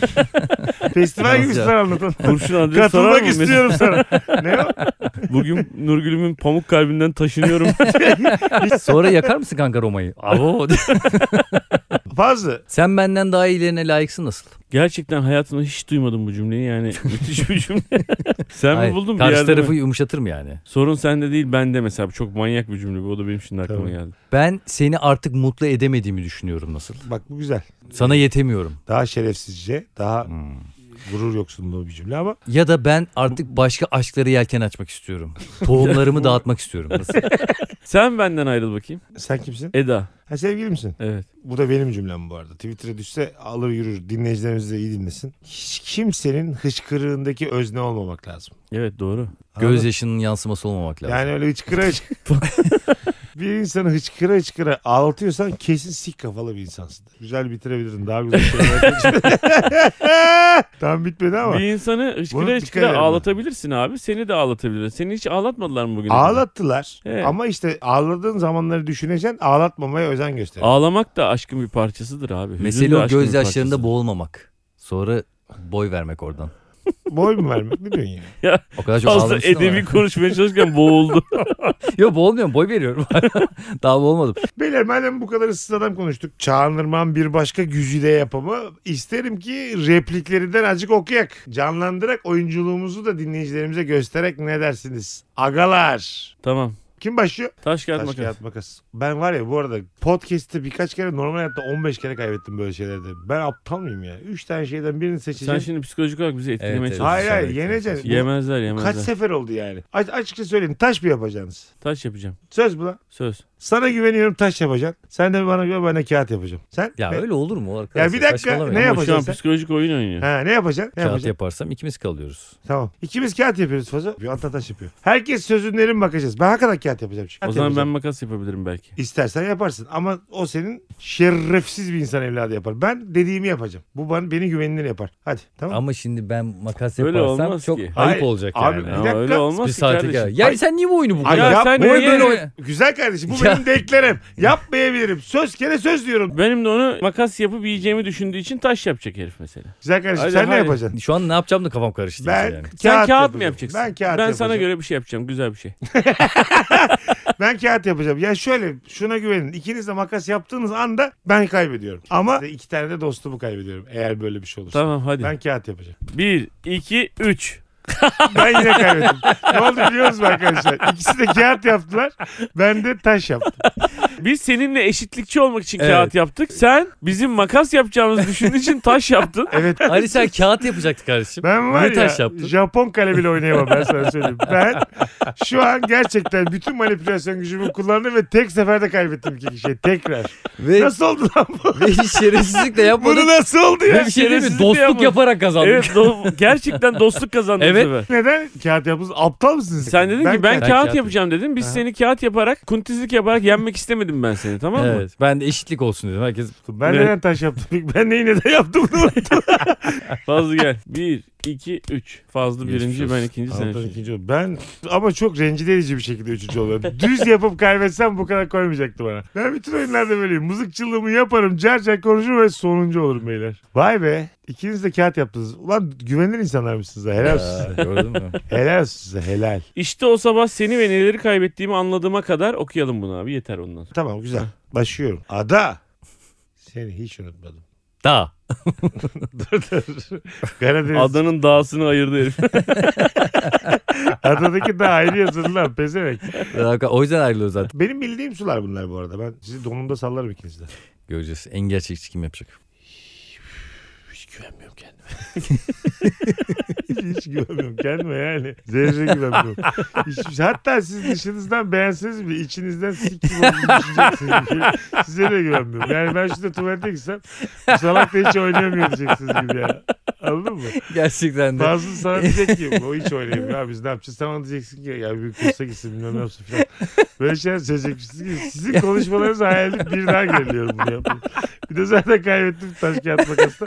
S2: Festival gibi
S4: Olmaz
S2: sen anlatan.
S3: Kurşun adresi sorar mı?
S2: Katılmak
S3: Mesut?
S2: istiyorum sana. ne o?
S3: Bugün Nurgül'ümün pamuk kalbinden taşınıyorum.
S4: Sonra yakar mısın kanka Roma'yı? Abo.
S2: Fazla.
S4: Sen benden daha iyilerine layıksın nasıl?
S3: Gerçekten hayatımda hiç duymadım bu cümleyi yani müthiş bir cümle. Sen mi buldun bir
S4: Karşı
S3: yerde
S4: tarafı
S3: mi?
S4: yumuşatır mı yani?
S3: Sorun sende değil bende mesela Bu çok manyak bir cümle bu o da benim şimdi aklıma
S2: Tabii.
S3: geldi.
S4: Ben seni artık mutlu edemediğimi düşünüyorum nasıl?
S2: Bak bu güzel.
S4: Sana yetemiyorum.
S2: Daha şerefsizce, daha
S3: Hmm.
S2: gurur yoksunluğu bir cümle ama
S4: Ya da ben artık başka aşkları yelken açmak istiyorum. Tohumlarımı dağıtmak istiyorum. Nasıl?
S3: Sen benden ayrıl bakayım.
S2: sen kimsin?
S3: Eda.
S2: Ha sevgili misin?
S3: Evet.
S2: Bu da benim cümlem bu arada. Twitter'a düşse alır yürür. Dinleyicilerimiz de iyi dinlesin. Hiç kimsenin hıçkırığındaki özne olmamak lazım.
S3: Evet doğru.
S2: Anladın?
S4: Göz yaşının yansıması olmamak lazım.
S2: Yani öyle hıçkıra hıçkıra. Bir insanı hıçkıra hıçkıra ağlatıyorsan kesin sik kafalı bir insansın. Güzel bitirebilirdin. Daha güzel şeyler Tam bitmedi ama.
S3: Bir insanı
S2: Bunu
S3: hıçkıra
S2: dikkat edin.
S3: hıçkıra ağlatabilirsin abi. Seni de ağlatabilir. Seni hiç ağlatmadılar mı bugün?
S2: Ağlattılar.
S3: Evet.
S2: Ama işte ağladığın zamanları düşüneceksin. Ağlatmamaya özen göster.
S3: Ağlamak da aşkın bir parçasıdır abi. Hüzün de
S4: Mesele o
S3: aşkın bir
S4: gözyaşlarında
S3: parçası.
S4: boğulmamak. Sonra boy vermek oradan.
S2: Boy mu vermek? Ne diyorsun ya?
S4: O kadar çok
S3: Fazla
S4: ağlamıştım
S3: edebi konuşmaya çalışırken boğuldu.
S4: Yok boğulmuyorum boy veriyorum. Daha boğulmadım.
S2: Beyler madem bu kadar ıssız adam konuştuk. Çağan Irmak'ın bir başka güzide yapımı. İsterim ki repliklerinden azıcık okuyak. Canlandırak oyunculuğumuzu da dinleyicilerimize göstererek ne dersiniz? Agalar.
S3: tamam.
S2: Kim başlıyor?
S3: Taş kağıt
S2: Taş
S3: makas.
S2: kağıt makas. Ben var ya bu arada podcast'te birkaç kere normal hayatta 15 kere kaybettim böyle şeylerde. Ben aptal mıyım ya? 3 tane şeyden birini
S3: Sen
S2: seçeceğim.
S3: şimdi psikolojik olarak bizi etkilemeye
S4: Evet, evet.
S3: çalışıyorsun.
S2: Hayır hayır
S4: Sen-
S2: yeneceksin.
S3: Yemezler
S2: Bu
S3: yemezler.
S2: Kaç sefer oldu yani? A- açıkça söyleyeyim taş mı yapacaksınız?
S3: Taş yapacağım.
S2: Söz bu lan.
S3: Söz.
S2: Sana güveniyorum taş yapacaksın. Sen de bana güven ben de kağıt yapacağım. Sen
S4: Ya
S2: ne-
S4: öyle olur mu arkadaşlar?
S2: Ya bir dakika,
S4: Saçmalamayın.
S2: ne
S3: Ama şu an
S2: yapacaksın sen?
S3: psikolojik oyun oynuyor.
S2: Ha, ne yapacaksın? Ne
S4: Kağıt
S2: yapacaksın?
S4: yaparsam ikimiz kalıyoruz.
S2: Tamam. İkimiz kağıt yapıyoruz Fazo. Bir anta taş yapıyor. Herkes sözünlerin bakacağız. Ben hakikaten kağıt yapacağım. Çünkü.
S3: O
S2: Kağıt
S3: zaman ben
S2: yapacağım.
S3: makas yapabilirim belki.
S2: İstersen yaparsın ama o senin şerefsiz bir insan evladı yapar. Ben dediğimi yapacağım. Bu bana, beni güvenilir yapar. Hadi tamam.
S4: Ama şimdi ben makas
S3: Öyle
S4: yaparsam
S3: olmaz
S4: çok
S3: ki.
S4: ayıp
S2: Hayır,
S4: olacak
S2: abi,
S4: yani.
S2: Bir
S3: Ama
S2: dakika.
S3: öyle olmaz
S4: bir
S3: ki
S4: saate
S3: kardeşim.
S4: gel. Ya sen niye bu oyunu bu
S2: Ay,
S4: kadar?
S2: yapma
S3: sen
S4: Bu oyun
S3: niye-
S4: böyle oyun-
S2: Güzel kardeşim bu
S4: Ya.
S2: benim de eklerim. Yapmayabilirim. Söz kere söz diyorum.
S3: Benim de onu makas yapıp yiyeceğimi düşündüğü için taş yapacak herif mesela.
S2: Güzel kardeşim
S3: Hayır,
S2: sen ne
S3: hayır.
S2: yapacaksın?
S4: Şu an ne yapacağım da kafam karıştı.
S2: Ben
S4: yani.
S3: Sen kağıt
S2: yapacağım.
S3: mı yapacaksın?
S2: Ben kağıt
S3: Ben
S2: yapacağım.
S3: sana göre bir şey yapacağım. Güzel bir şey.
S2: Ben kağıt yapacağım. Ya şöyle şuna güvenin. İkiniz de makas yaptığınız anda ben kaybediyorum. Ama iki tane de dostumu kaybediyorum eğer böyle bir şey olursa.
S3: tamam hadi.
S2: Ben kağıt yapacağım.
S3: Bir, iki, üç.
S2: Ben yine kaybettim. ne oldu biliyor musun arkadaşlar? İkisi de kağıt yaptılar. Ben de taş yaptım.
S3: Biz seninle eşitlikçi olmak için
S4: Evet.
S3: kağıt yaptık. Sen bizim makas yapacağımızı düşündüğün için taş yaptın.
S2: Evet.
S4: Ali sen kağıt yapacaktı kardeşim.
S2: Ben var
S4: Niye taş
S2: ya
S4: yaptın?
S2: Japon kale bile oynayamam ben sana söyleyeyim. Ben şu an gerçekten bütün manipülasyon gücümü kullandım ve tek seferde kaybettim iki kişiyi tekrar.
S4: Ve,
S2: Nasıl oldu lan bu?
S4: ve hiç şerefsizlikle yapmadık.
S2: Bunu nasıl oldu ya?
S4: Ve bir şey değil mi?
S3: şerefsizlikle
S4: Dostluk
S3: yapmadık.
S4: yaparak kazandık.
S3: Evet do- gerçekten dostluk kazandı
S4: Evet.
S3: bu sefer.
S2: Neden? Kağıt yapıyorsunuz. Aptal mısınız?
S3: Sen dedin ki ben
S4: Ben
S3: kağıt,
S4: kağıt
S3: yapacağım dedin. Biz
S2: Ha.
S3: seni kağıt yaparak, kuntizlik yaparak yenmek istemedim ben seni tamam mı?
S4: Evet. Ben de eşitlik olsun dedim. Herkes
S2: Ben
S3: Evet.
S2: neden taş yaptım? Ben neyi neden yaptım?
S3: Fazlı gel. Bir, iki, üç. Fazlı
S4: Geçmiş
S3: birinci
S4: olsun.
S3: ben ikinci sen.
S2: Anlatan
S3: üçüncü.
S2: ikinci oldu. Ben ama çok rencide edici bir şekilde üçüncü oluyorum. Düz yapıp kaybetsem bu kadar koymayacaktı bana. Ben bütün oyunlarda böyleyim. Mızıkçılığımı yaparım. Car car konuşurum ve sonuncu olurum beyler. Vay be. İkiniz de kağıt yaptınız. Ulan güvenilir insanlar mısınız ha? Helal olsun.
S4: Aa, gördün mü?
S2: Helal olsun size. Helal.
S3: İşte o sabah seni ve neleri kaybettiğimi anladığıma kadar okuyalım bunu abi yeter ondan sonra.
S2: Tamam güzel. Başlıyorum. Ada. Seni hiç unutmadım.
S4: Daha.
S2: Karadeniz.
S3: Adanın dağsını ayırdı herif.
S2: Adadaki daha ayrı yazılı lan pezevenk.
S4: O yüzden ayrılıyoruz zaten.
S2: Benim bildiğim sular bunlar bu arada. Ben sizi donumda sallarım ikiniz de.
S4: Göreceğiz. En gerçekçi kim yapacak?
S2: Hiç güvenmiyorum kendime. Hiç güvenmiyorum kendime yani. Zerre güvenmiyorum. Hiç- hatta siz dışınızdan beğenseniz bile içinizden sik gibi olduğunu düşüneceksiniz. şey- Size de güvenmiyorum. Yani ben şurada tuvalete gitsem bu salak da hiç oynayamıyor diyeceksiniz gibi ya. Anladın mı?
S4: Gerçekten de.
S2: Fazla sana diyecek ki o hiç oynayamıyor abi biz ne yapacağız? Sen ona diyeceksin ki ya bir kursa gitsin bilmem ne yapsın falan. Böyle şeyler söyleyeceksiniz ki sizin konuşmalarınız hayalde bir daha geliyorum bunu yapın. Bir de zaten kaybettim taş kağıt makasla.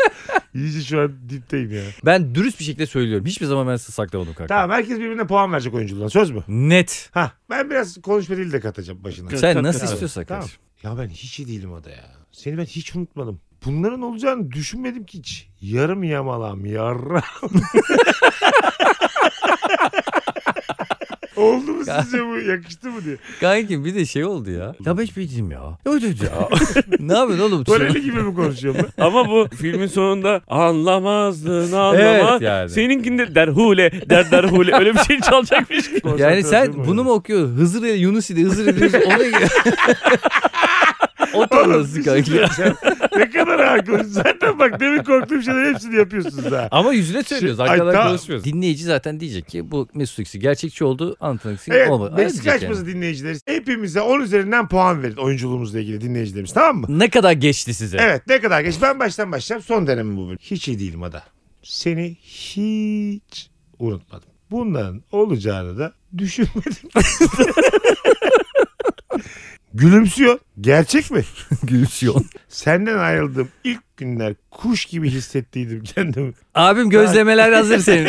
S2: İyice şu an dipteyim ya.
S4: Ben dürüst bir şekilde söylüyorum. Hiçbir zaman ben size saklamadım kanka.
S2: Tamam herkes birbirine puan verecek oyunculuğuna söz mü?
S4: Net.
S2: Ha ben biraz konuşma dili de katacağım başına.
S3: Kız-
S4: Sen
S3: Kat-
S4: nasıl
S3: kat-
S4: istiyorsan
S2: Tamam.
S4: kardeşim.
S2: Ya ben hiç iyi değilim o da ya. Seni ben hiç unutmadım. Bunların olacağını düşünmedim ki hiç. Yarım yamalam yarra. Oldu mu sizce bu? Yakıştı mı diye.
S4: Kankim bir de şey oldu ya. Ya ben hiç bildim ya. Ne oldu ya? ne yapıyorsun oğlum?
S2: Koreli gibi mi konuşuyorum ben?
S3: Ama bu filmin sonunda anlamazdın anlamaz.
S4: Evet yani.
S3: Seninkinde derhule der derhule öyle bir şey çalacakmış ki.
S4: Yani sen
S2: Konsantrasyon
S4: bunu mu okuyorsun? Hızır ile Yunus ile Hızır ile Yunus ona gir. o
S2: Oğlum,
S4: tarlası
S2: bir şey
S4: kanka.
S2: söyleyeceğim. ne kadar haklı. Zaten bak demin korktuğum şeylerin hepsini yapıyorsunuz ha.
S4: Ama yüzüne söylüyoruz.
S2: Şey-
S4: Arkadan
S2: Ay, tamam.
S4: konuşmuyoruz. Dinleyici zaten diyecek ki bu Mesut X'i gerçekçi oldu. Anlatan X'i
S2: Evet,
S4: olmadı. Öyle
S2: Meksika
S4: diyecek yani.
S2: açması dinleyicileri hepimize 10 üzerinden puan verin oyunculuğumuzla ilgili dinleyicilerimiz tamam mı?
S4: Ne kadar geçti size?
S2: Evet ne kadar geç. Ben baştan başlayacağım. Son deneme bu bölüm. Hiç iyi değilim ada. Seni hiç unutmadım. Bunların olacağını da düşünmedim.
S5: Gülümsüyor. Gerçek mi?
S4: Gülsüyon.
S5: Senden ayrıldığım ilk günler kuş gibi hissettiydim kendimi.
S4: Abim gözlemeler hazır senin.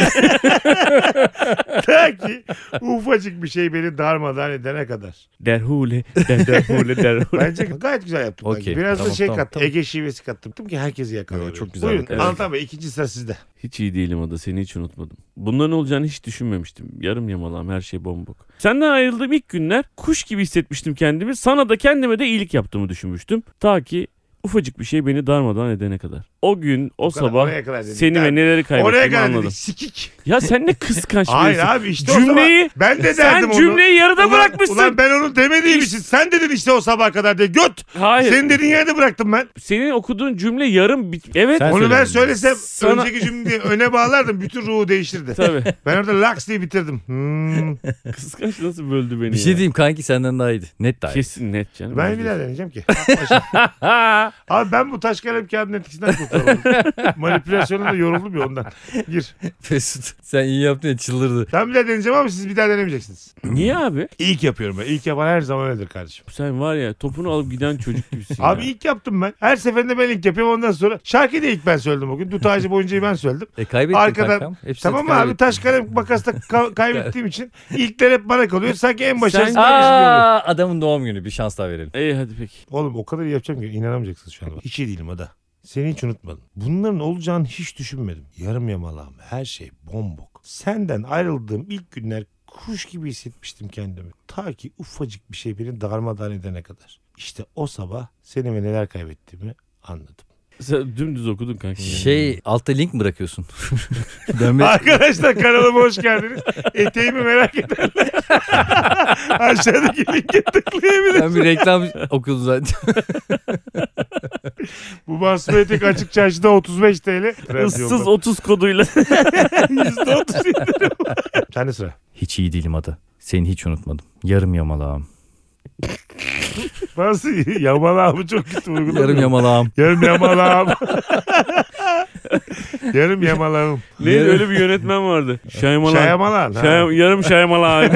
S5: Ta ki ufacık bir şey beni darmadağın edene kadar.
S3: Derhule, der, derhule, derhule.
S5: Bence gayet güzel yaptım. bence.
S4: Okey,
S5: Biraz
S4: tamam,
S5: da şey
S4: tamam,
S5: kattım.
S4: tamam.
S5: Ege şivesi kattım. Dedim ki herkesi yakalayabilir.
S6: Yo, çok güzel
S5: Buyurun
S6: bak, evet.
S5: Anlatan Bey ikinci sıra sizde.
S3: Hiç iyi değilim o da seni hiç unutmadım. Bunların olacağını hiç düşünmemiştim. Yarım yamalağım her şey bombok. Senden ayrıldığım ilk günler kuş gibi hissetmiştim kendimi. Sana da kendime de iyilik yaptığımı düşünmüştüm. Ta ki ufacık bir şey beni darmadan edene kadar. O gün, o,
S5: kadar,
S3: sabah
S5: oraya kadar dedik.
S3: seni
S5: Daha-
S3: ve neleri
S5: Oraya
S3: kaybettiğimi
S5: kadar
S3: anladım.
S5: dedik sikik.
S3: Ya sen ne kıskanç
S5: Hayır
S3: birisin.
S5: abi işte o
S3: Cümleyi-
S5: sabah. Ben de derdim
S3: Sen
S5: onu.
S3: cümleyi yarıda
S5: Ulan-
S3: bırakmışsın.
S5: Ulan ben onu demediğim için sen dedin işte o sabah kadar diye. Göt.
S3: Hayır.
S5: Senin dediğin yerde bıraktım ben.
S3: Senin okuduğun cümle yarım bit... Evet.
S4: Sen-
S5: Onu ben
S4: söylemedin.
S5: söylesem
S3: Sana-
S5: önceki cümleyi öne bağlardım. Bütün ruhu değiştirdi.
S3: Tabii.
S5: Ben orada laks diye bitirdim. Hmm.
S3: Kıskanç nasıl böldü beni
S4: bir şey
S3: ya.
S4: diyeyim kanki senden daha iyiydi. Net daha iyi.
S3: Kesin net canım.
S5: Ben bir daha deneyeceğim ki. Abi ben bu taş kalem kağıdın etkisinden kurtulamadım. Manipülasyona da yoruldum ya ondan. Gir.
S4: Mesut sen iyi yaptın ya çıldırdı.
S5: Ben bir daha deneyeceğim ama siz bir daha denemeyeceksiniz.
S3: Niye abi?
S5: İlk yapıyorum ben. İlk yapan her zaman öyledir kardeşim.
S3: Sen var ya topunu alıp giden çocuk gibisin
S5: Abi
S3: ya.
S5: ilk yaptım ben. Her seferinde ben ilk yapıyorum ondan sonra. Şarkıyı da ilk ben söyledim bugün. Dut ağacı boyuncayı ben söyledim.
S4: E kaybettin
S5: Arkadan-
S4: kankam. Hepsini
S5: tamam mı
S4: kaybettin.
S5: abi taş kalem makasla ka- kaybettiğim için ilkler hep bana kalıyor. Sanki en başarısız oluyor.
S4: Aa, adamın doğum günü bir şans daha verelim.
S3: İyi hadi peki.
S5: Oğlum o kadar iyi yapacağım ki inanamayacaksın şu an. Hiç iyi değilim ada. Seni hiç unutmadım. Bunların olacağını hiç düşünmedim. Yarım yamalağım her şey bombok. Senden ayrıldığım ilk günler kuş gibi hissetmiştim kendimi. Ta ki ufacık bir şey beni darmadağın edene kadar. İşte o sabah seni ve neler kaybettiğimi anladım.
S3: Sen dümdüz okudun kanka.
S4: Şey altta link mi bırakıyorsun? ben bir-
S5: Arkadaşlar kanalıma hoş geldiniz. Eteğimi merak edenler aşağıdaki linke tıklayabilir.
S4: ben bir reklam okudum zaten.
S5: Bu basma etek açık çarşıda 35 TL.
S3: Issız 30 koduyla.
S5: %30 indirim. Sen de sıra.
S4: Hiç iyi değilim ada. Seni hiç unutmadım. Yarım yamalağım.
S5: Nasıl? Yaman abi çok kötü uyguladı.
S4: Yarım yamalağım.
S5: Yarım yaman abi. Yarım yaman abim.
S3: ne
S4: Yarım-
S3: öyle bir yönetmen vardı. Şaymalan.
S5: Şayamalan. ha.
S3: Şay- yarım şaymalan.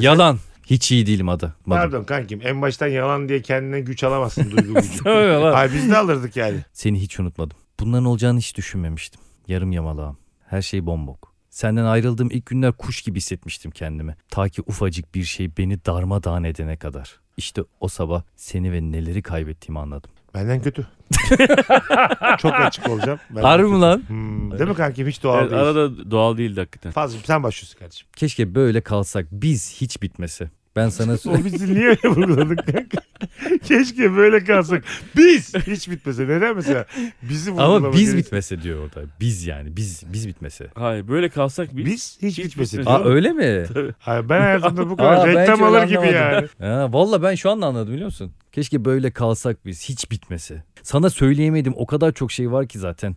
S4: Yalan. Hiç iyi değilim ada. Bana.
S5: Pardon kankim en baştan yalan diye kendine güç alamazsın duygu gücü.
S4: Öyle lan.
S5: Ay biz de alırdık yani.
S4: Seni hiç unutmadım. Bunların olacağını hiç düşünmemiştim. Yarım yamalağım. Her şey bombok. Senden ayrıldığım ilk günler kuş gibi hissetmiştim kendimi. Ta ki ufacık bir şey beni darmadağın edene kadar. İşte o sabah seni ve neleri kaybettiğimi anladım.
S5: Benden kötü. çok açık olacağım. Benden
S4: Harbi
S5: kötü.
S4: mi lan?
S5: Hmm, değil mi kankim hiç doğal
S3: evet,
S5: değil.
S3: arada doğal değildi hakikaten.
S5: Fazlım sen başlıyorsun kardeşim.
S4: Keşke böyle kalsak biz hiç bitmese. Ben sana
S5: O bizi niye öyle vurguladık kanka? Keşke böyle kalsak. Biz hiç bitmese. Neden mesela? Bizi
S4: Ama
S5: vurgulamak
S4: biz
S5: gerekiyor.
S4: bitmese diyor orada. Biz yani biz biz bitmese.
S3: Hayır böyle kalsak biz.
S5: Biz hiç,
S3: Hiç
S5: bitmesin.
S3: bitmese.
S4: Aa öyle mi?
S5: Ay, ben hayatımda bu
S4: Aa,
S5: kadar
S4: ben hiç
S5: reklam
S4: öyle
S5: alır gibi
S4: anlamadım.
S5: yani.
S4: Ha, valla ben şu anda anladım biliyor musun? Keşke böyle kalsak biz hiç bitmese. Sana söyleyemedim o kadar çok şey var ki zaten.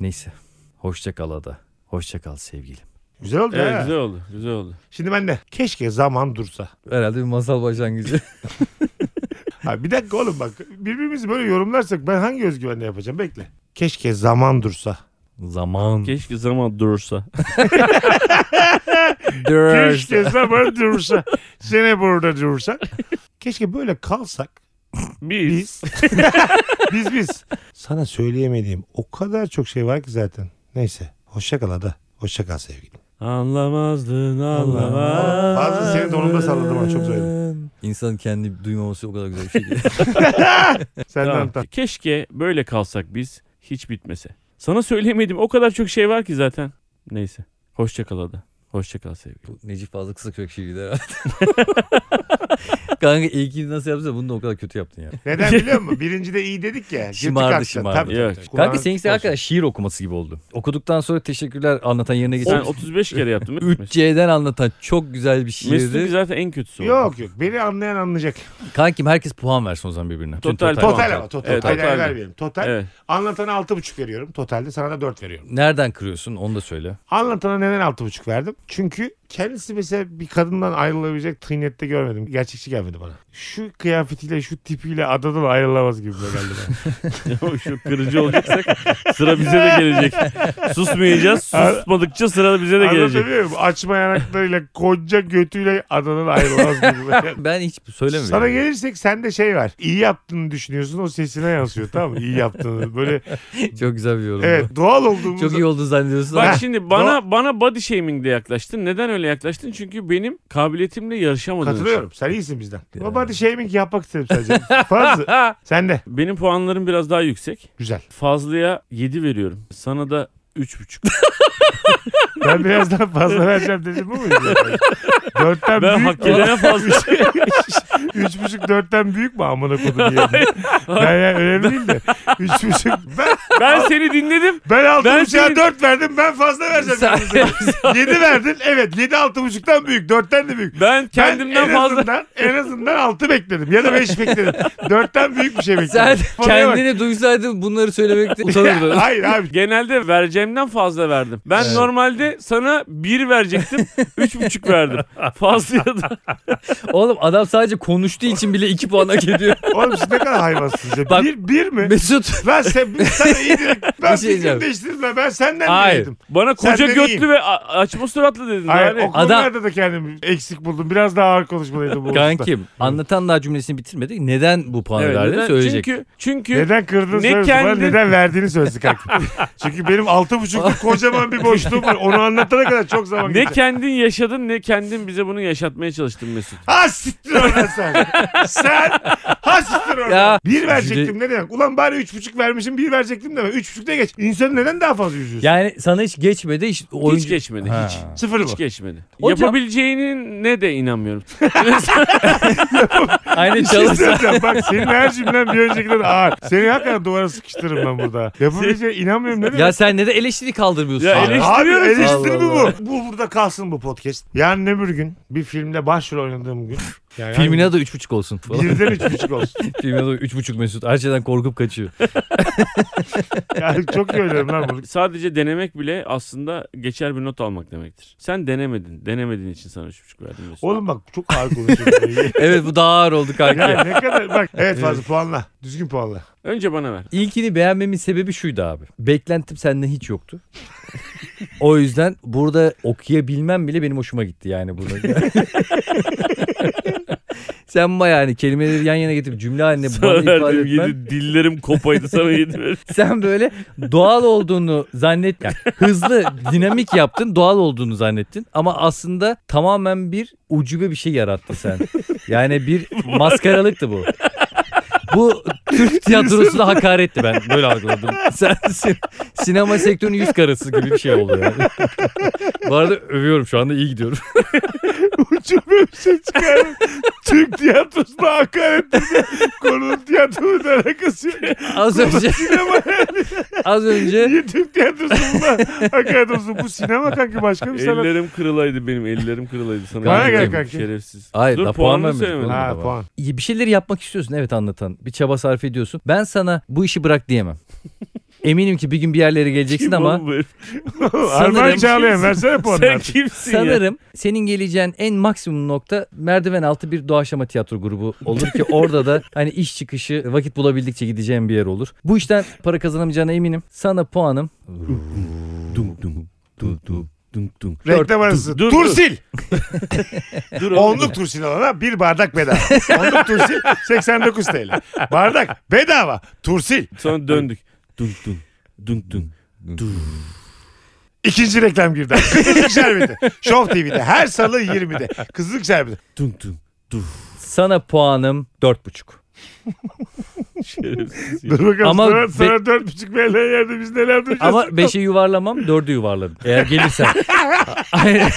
S4: Neyse. Hoşça kal ada. Hoşça kal sevgilim.
S5: Güzel oldu
S3: Evet
S5: ha.
S3: güzel oldu. Güzel oldu.
S5: Şimdi ben de keşke zaman dursa.
S4: Herhalde bir masal başlangıcı.
S5: Ha, bir dakika oğlum bak birbirimizi böyle yorumlarsak ben hangi özgüvenle yapacağım bekle. Keşke zaman dursa.
S4: Zaman.
S3: Keşke zaman dursa.
S5: Keşke zaman dursa. Sene burada dursa. Keşke böyle kalsak.
S3: Biz.
S5: Biz. biz biz. Sana söyleyemediğim o kadar çok şey var ki zaten. Neyse. Hoşça kal ada. Hoşça kal sevgilim.
S3: Anlamazdın anlamaz.
S5: Bazı senin donunda salladım ama çok söyledim.
S4: İnsanın kendi duymaması o kadar güzel bir şey değil.
S5: Senden
S3: Tamam.
S5: tam.
S3: Keşke böyle kalsak biz hiç bitmese. Sana söyleyemedim o kadar çok şey var ki zaten. Neyse. Hoşça kal ada. Hoşça kal sevgilim.
S4: Bu Necip fazla kısa kök şiirdi herhalde. Kanka ilkini nasıl yapsa bunu da o kadar kötü yaptın ya.
S5: Neden biliyor musun? Birincide iyi dedik ya. Girdik
S4: Şımardı,
S5: hakikaten.
S4: şımardı.
S5: Tabii,
S3: Yok.
S5: tabii, tabii.
S4: Kanka
S5: Kulağın-
S4: seninkisi hakikaten şiir okuması gibi oldu. Okuduktan sonra teşekkürler anlatan yerine
S3: Sen
S4: geçen.
S3: 35 kere yaptın. değil mi?
S4: 3C'den anlatan çok güzel bir
S3: Mesut'un
S4: şiirdi.
S3: zaten en kötüsü. oldu.
S5: Yok yok. Beni anlayan anlayacak.
S4: Kankim herkes puan versin o zaman birbirine. Bütün
S3: Total
S5: Total
S3: puan. Tamam,
S5: ama total.
S3: Evet,
S5: Hayır, hayır,
S3: totalde.
S5: vermeyelim. Total.
S3: Evet.
S5: Anlatana 6,5 veriyorum. Totalde sana da 4 veriyorum.
S4: Nereden kırıyorsun onu da söyle.
S5: Anlatana neden 6,5 verdim? Çünkü
S2: Kendisi mesela bir kadından ayrılabilecek tıynette görmedim. Gerçekçi gelmedi bana. Şu kıyafetiyle şu tipiyle adadan ayrılamaz gibi geldi bana.
S3: Şu kırıcı olacaksak sıra bize de gelecek. Susmayacağız. Susmadıkça sıra bize de gelecek.
S2: Anlatabiliyor muyum? Açma yanaklarıyla koca götüyle adadan ayrılamaz gibi. geldi.
S4: Ben hiç söylemiyorum.
S2: Sana gelirsek sende şey var. İyi yaptığını düşünüyorsun o sesine yansıyor tamam mı? İyi yaptığını. Böyle
S4: Çok güzel bir yorum. bu.
S2: evet doğal olduğumuz
S4: Çok iyi oldu zannediyorsun.
S3: Bak şimdi bana bana body shaming de yaklaştın. Neden öyle yaklaştın? Çünkü benim kabiliyetimle yarışamadığın için.
S2: Katılıyorum. Sen iyisin bizden. Ama hadi shaming yapmak istedim sadece. Fazla.
S3: Ha!
S2: Sen de.
S3: Benim puanlarım biraz daha yüksek.
S2: Güzel.
S3: Fazlı'ya 7 veriyorum. Sana da 3,5.
S2: Ben biraz daha fazla vereceğim dedim bu muydu? zaten? Dörtten
S3: Ben
S2: büyük.
S3: hak edene fazla.
S2: Üç buçuk dörtten büyük mü amına kodu diye. Ben yani önemli değil de. Üç buçuk. Ben,
S3: ben seni dinledim.
S2: ben altı
S3: Ben
S2: buçuğa
S3: senin-
S2: dört verdim. Ben fazla vereceğim.
S4: Sen-
S2: Yedi verdin. Evet. Yedi altı buçuktan büyük. Dörtten de büyük.
S3: Ben
S2: Ben
S3: kendimden
S2: en
S3: fazla.
S2: Azından, en azından altı bekledim. Ya da beş bekledim. Dörtten büyük bir şey bekledim.
S4: Sen
S2: Konuya bak.
S4: kendini duysaydın bunları söylemekte utanırdın.
S2: Hayır abi.
S3: Genelde vereceğimden fazla verdim. Ben
S4: Evet.
S3: normalde sana 1 verecektim. 3,5 verdim. Fazla da.
S4: Oğlum adam sadece konuştuğu için bile 2 puan hak ediyor.
S2: Oğlum siz ne kadar hayvansınız ya.
S4: Bak-
S2: bir, bir mi?
S4: Mesut.
S2: Lan sen, sen iyi direkt. Ben
S4: Bir şey diyeceğim.
S2: fikir değiştirme. Ben senden
S4: Hayır.
S2: dinledim.
S3: Bana koca
S2: Senden
S3: götlü
S2: iyiyim.
S3: ve a- açma suratlı dedin.
S2: Hayır,
S3: yani.
S2: o konularda da kendimi eksik buldum. Biraz daha ağır konuşmalıydım bu hususta.
S4: Kankim anlatan daha cümlesini bitirmedik. Neden bu puanı
S3: Evet,
S4: verdin
S3: neden?
S4: söyleyecek.
S3: Çünkü, çünkü
S2: Neden kırdığını
S3: Ne
S2: söylesin bana,
S3: kendi-
S2: neden verdiğini söylesin kankim. Çünkü benim altı buçukluk kocaman bir boşluğum var. Onu anlatana kadar çok zaman
S3: ne
S2: geçer.
S3: kendin yaşadın ne kendin bize bunu yaşatmaya çalıştın Mesut.
S2: Ha siktir oradan sen. sen ha siktir oradan.
S4: Ya.
S2: Bir verecektim ne demek? Ulan bari üç buçuk vermişim bir verecektim deme. Üç buçuk ne geç? İnsanı neden daha fazla yüzüyorsun?
S4: Yani sana hiç geçmedi. Hiç, oyuncu...
S3: Hiç geçmedi.
S4: Ha.
S3: Hiç.
S2: Sıfır mı?
S3: Hiç geçmedi.
S4: Hocam-
S3: Yapabileceğinin ne de inanmıyorum.
S4: Aynen
S2: Bir şey
S4: çalışsa.
S2: söyleyeceğim. Bak senin her cümlen bir öncekinden ağır. Seni hakikaten duvara sıkıştırırım ben burada. Yapabileceğine inanmıyorum ne demek?
S4: ya sen ne de eleştiri kaldırmıyorsun.
S3: Ya
S4: ya.
S3: eleş-
S2: Abi
S3: Eleştiriyorum seni.
S2: eleştiri mi bu?
S4: Allah
S2: Bu burada kalsın bu podcast. Yarın öbür gün bir filmde başrol oynadığım gün. Yani hani
S4: Filmin adı 3.5 olsun. falan.
S2: Birden üç buçuk olsun.
S4: Filmin adı 3.5 Mesut. Her şeyden korkup kaçıyor.
S2: Yani çok iyi oynarım lan bunu.
S3: Sadece denemek bile aslında geçer bir not almak demektir. Sen denemedin. Denemediğin için sana 3,5 verdim Mesut.
S2: Oğlum bak çok ağır konuşuyorsun.
S4: Evet bu daha ağır oldu kanka.
S2: ya ne kadar bak evet fazla puanla. Düzgün puanla.
S3: Önce bana ver.
S4: İlkini beğenmemin sebebi şuydu abi. Beklentim senden hiç yoktu. o yüzden burada okuyabilmem bile benim hoşuma gitti yani burada. Sen bayağı hani kelimeleri yan yana getirip cümle haline bana
S3: Sana
S4: ifade
S3: verdim
S4: etmen.
S3: 7 dillerim kopaydı sana 7 ver.
S4: Sen böyle doğal olduğunu zannet, yani hızlı dinamik yaptın, doğal olduğunu zannettin ama aslında tamamen bir ucube bir şey yarattı sen. Yani bir maskaralıktı bu. Bu Türk tiyatrosuna hakaretti ben böyle algıladım. Sen sin- sinema sektörünün yüz karası gibi bir şey oldu yani. bu arada övüyorum şu anda iyi gidiyorum.
S2: Ucube bir şey çıkar. Türk tiyatrosuna hakaret edildi. Konunun tiyatrosuyla alakası yok.
S4: Az önce
S2: Sinema yani.
S4: az önce
S2: Niye Türk tiyatrosunda hakaret olsun? Bu sinema kanki başka bir sanat.
S3: Ellerim kırılaydı benim ellerim kırılaydı sana.
S2: Bana
S3: verdim.
S2: gel kanki.
S3: Şerefsiz.
S4: Hayır,
S3: Dur
S4: daha puan
S3: puanını
S4: vermedik.
S3: söylemedim.
S4: Ha.
S2: Ha puan.
S4: bir şeyleri yapmak istiyorsun evet anlatan. Bir çaba sarf ediyorsun. Ben sana bu işi bırak diyemem. Eminim ki bir gün bir yerlere geleceksin
S3: Kim
S4: ama
S3: oğlum bu herif?
S2: Armağan Çağlayan versene puanını
S3: Sen
S2: artık.
S3: kimsin ya?
S4: Sanırım senin geleceğin en maksimum nokta merdiven altı bir doğaçlama tiyatro grubu olur ki orada da hani iş çıkışı vakit bulabildikçe gideceğim bir yer olur. Bu işten para kazanamayacağına eminim. Sana puanım. dum dum dum dum dum dum.
S2: Reklam arası.
S3: dur,
S2: Tursil.
S3: Dur oğlum.
S2: Onluk turşil alana bir bardak bedava. Onluk turşil 89 TL. Bardak bedava. Tursil.
S3: Sonra döndük. Dun dun dun dun.
S2: İkinci reklam girdi. Kızılcık Şerbeti. Show TV'de her salı 20'de. Kızılcık Şerbeti.
S3: Dun dun.
S4: Sana puanım dört buçuk.
S3: Şerefsiz ya.
S2: Dur bakalım
S4: Ama
S2: sana,
S4: be-
S2: sana 4,5 verilen yerde biz neler duyacağız.
S4: Ama 5'e yuvarlamam 4'ü yuvarladım. Eğer gelirsen. Aynen.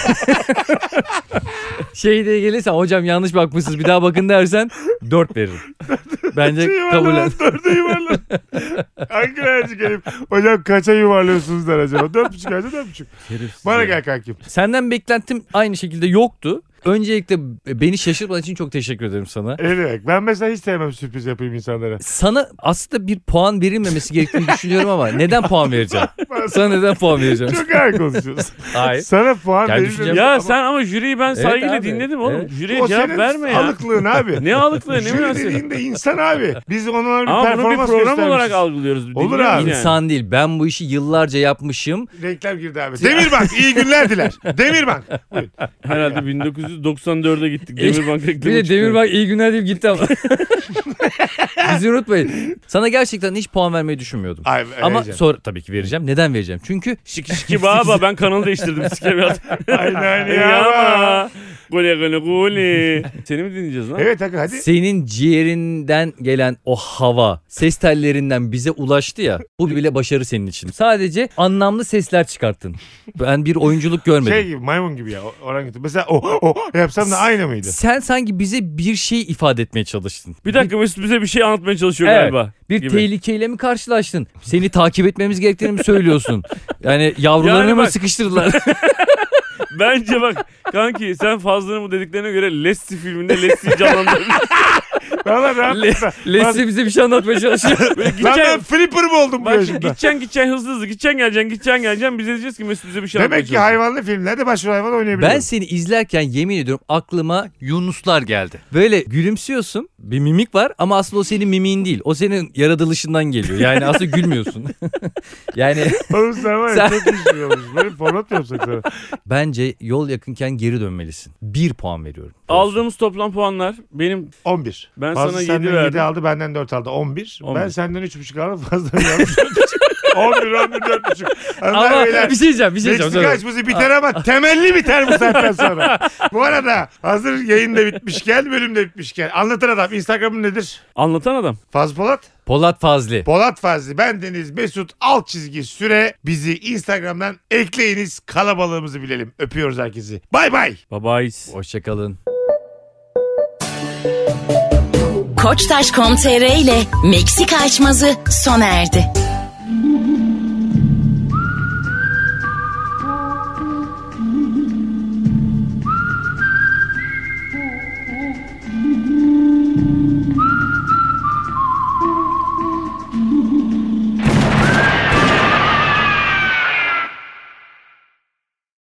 S4: şey diye gelirsen hocam yanlış bakmışsınız bir daha bakın dersen 4 veririm. Bence kabul et.
S2: Dörde yuvarlan. Ankara'ya gelip hocam kaça yuvarlıyorsunuz der acaba? Dört buçuk kaça dört buçuk.
S3: Şerefsiz
S2: Bana
S3: ya.
S2: gel kankim.
S4: Senden beklentim aynı şekilde yoktu. Öncelikle beni şaşırtmadığın için çok teşekkür ederim sana.
S2: Ne demek? Ben mesela hiç sevmem sürpriz yapayım insanlara.
S4: Sana aslında bir puan verilmemesi gerektiğini düşünüyorum ama neden puan vereceğim? Sana neden puan vereceğim?
S2: Çok ağır konuşuyorsun.
S4: Hayır.
S2: Sana puan
S4: Yani
S2: verilmedi.
S4: düşüneceğim.
S3: E, Ya
S2: Ama
S3: sen ama jüriyi ben
S4: Evet
S3: saygıyla
S4: abi,
S3: dinledim oğlum.
S4: evet.
S3: Jüriye cevap verme ya.
S2: alıklığın abi.
S3: Ne alıklığı ne
S2: Jüri
S3: münasebet.
S2: dediğin de insan abi. Biz onlara bir
S3: Ama bunu bir
S2: performans
S3: program olarak
S2: göstermişiz.
S3: algılıyoruz.
S2: Olur
S3: Dinliyoruz
S2: abi.
S3: yani.
S4: İnsan değil. Ben bu işi yıllarca yapmışım.
S2: Reklam girdi abi. Demirbank iyi günler diler. Demirbank. Buyurun.
S3: Herhalde 1994'e gittik. Demirbank
S4: Bir
S3: reklamı
S4: de
S3: çıkıyor.
S4: Demirbank iyi günler deyip gitti ama. Bizi unutmayın. Sana gerçekten hiç puan vermeyi düşünmüyordum.
S2: Ay,
S4: Ama
S2: vereceğim.
S4: sonra tabii ki vereceğim. Neden vereceğim? Çünkü
S3: Şiki şiki baba ben kanalı değiştirdim sike biraz.
S2: Aynen aynen ya.
S3: Yama. Gule gule gule. Seni mi dinleyeceğiz lan?
S2: Evet Hakan hadi.
S4: senin ciğerinden gelen o hava, ses tellerinden bize ulaştı ya. Bu bile başarı senin için. Sadece anlamlı sesler çıkarttın. Ben bir oyunculuk görmedim.
S2: Şey gibi maymun gibi ya. Oran gibi. Mesela o o yapsam da aynı mıydı?
S4: Sen sanki bize bir şey ifade etmeye çalıştın.
S3: Bir dakika Mesut bize bir şey anlatmaya çalışıyor
S4: Evet.
S3: galiba.
S4: Bir
S3: gibi.
S4: tehlikeyle mi karşılaştın? Seni takip etmemiz gerektiğini mi söylüyorsun? Yani yavrularını
S3: Yani
S4: mı
S3: bak-
S4: sıkıştırdılar?
S3: Bence bak kanki sen fazlını bu dediklerine göre Lesti filminde Lesti'yi canlandırmış.
S2: Valla rahat.
S4: Le- Leslie bize bir şey anlatmaya çalışıyor.
S3: Böyle
S2: Lan ben
S3: gideceksin.
S2: flipper mı oldum bu
S3: Bak
S2: yaşımda?
S3: gideceksin gideceksin hızlı hızlı gideceksin geleceksin gideceksin geleceksin biz de diyeceğiz ki Mesut bize bir şey
S2: Demek ki
S3: anlatmaya çalışıyor.
S2: hayvanlı filmlerde başrol hayvan oynayabiliyor.
S4: Ben seni izlerken yemin ediyorum aklıma Yunuslar geldi. Böyle gülümsüyorsun. Bir mimik var ama aslında o senin mimiğin değil. O senin yaratılışından geliyor. Yani aslında gülmüyorsun. yani
S2: Oğlum sen var ya çok düşünüyormuş. Böyle format mı yapsak sana?
S4: bence yol yakınken geri dönmelisin. Bir puan veriyorum.
S3: Aldığımız toplam puanlar benim
S2: 11.
S3: Ben
S2: Fazla
S3: sana yedi
S2: senden
S3: verdim.
S2: yedi aldı benden 4 aldı. 11.
S3: 11.
S2: Ben senden 3,5 aldım fazla aldım. 11, 11, 4,5. Ama
S4: Ama
S2: beyler
S4: bir şey diyeceğim. Bir şey diyeceğim.
S2: Meksika
S4: Sonra-
S2: açması biter ama temelli biter bu saatten sonra. bu arada hazır yayın da bitmişken bölüm de bitmişken. Anlatan adam Instagram'ın nedir?
S3: anlatan adam.
S2: Faz Polat.
S4: Polat Fazlı.
S2: Polat Fazlı bendeniz Mesut alt çizgi süre bizi Instagram'dan ekleyiniz kalabalığımızı bilelim. Öpüyoruz herkesi. Bay bay.
S3: Babayız.
S4: Hoşçakalın.
S1: Koçtaş.com.tr ile Meksika açmazı sona erdi.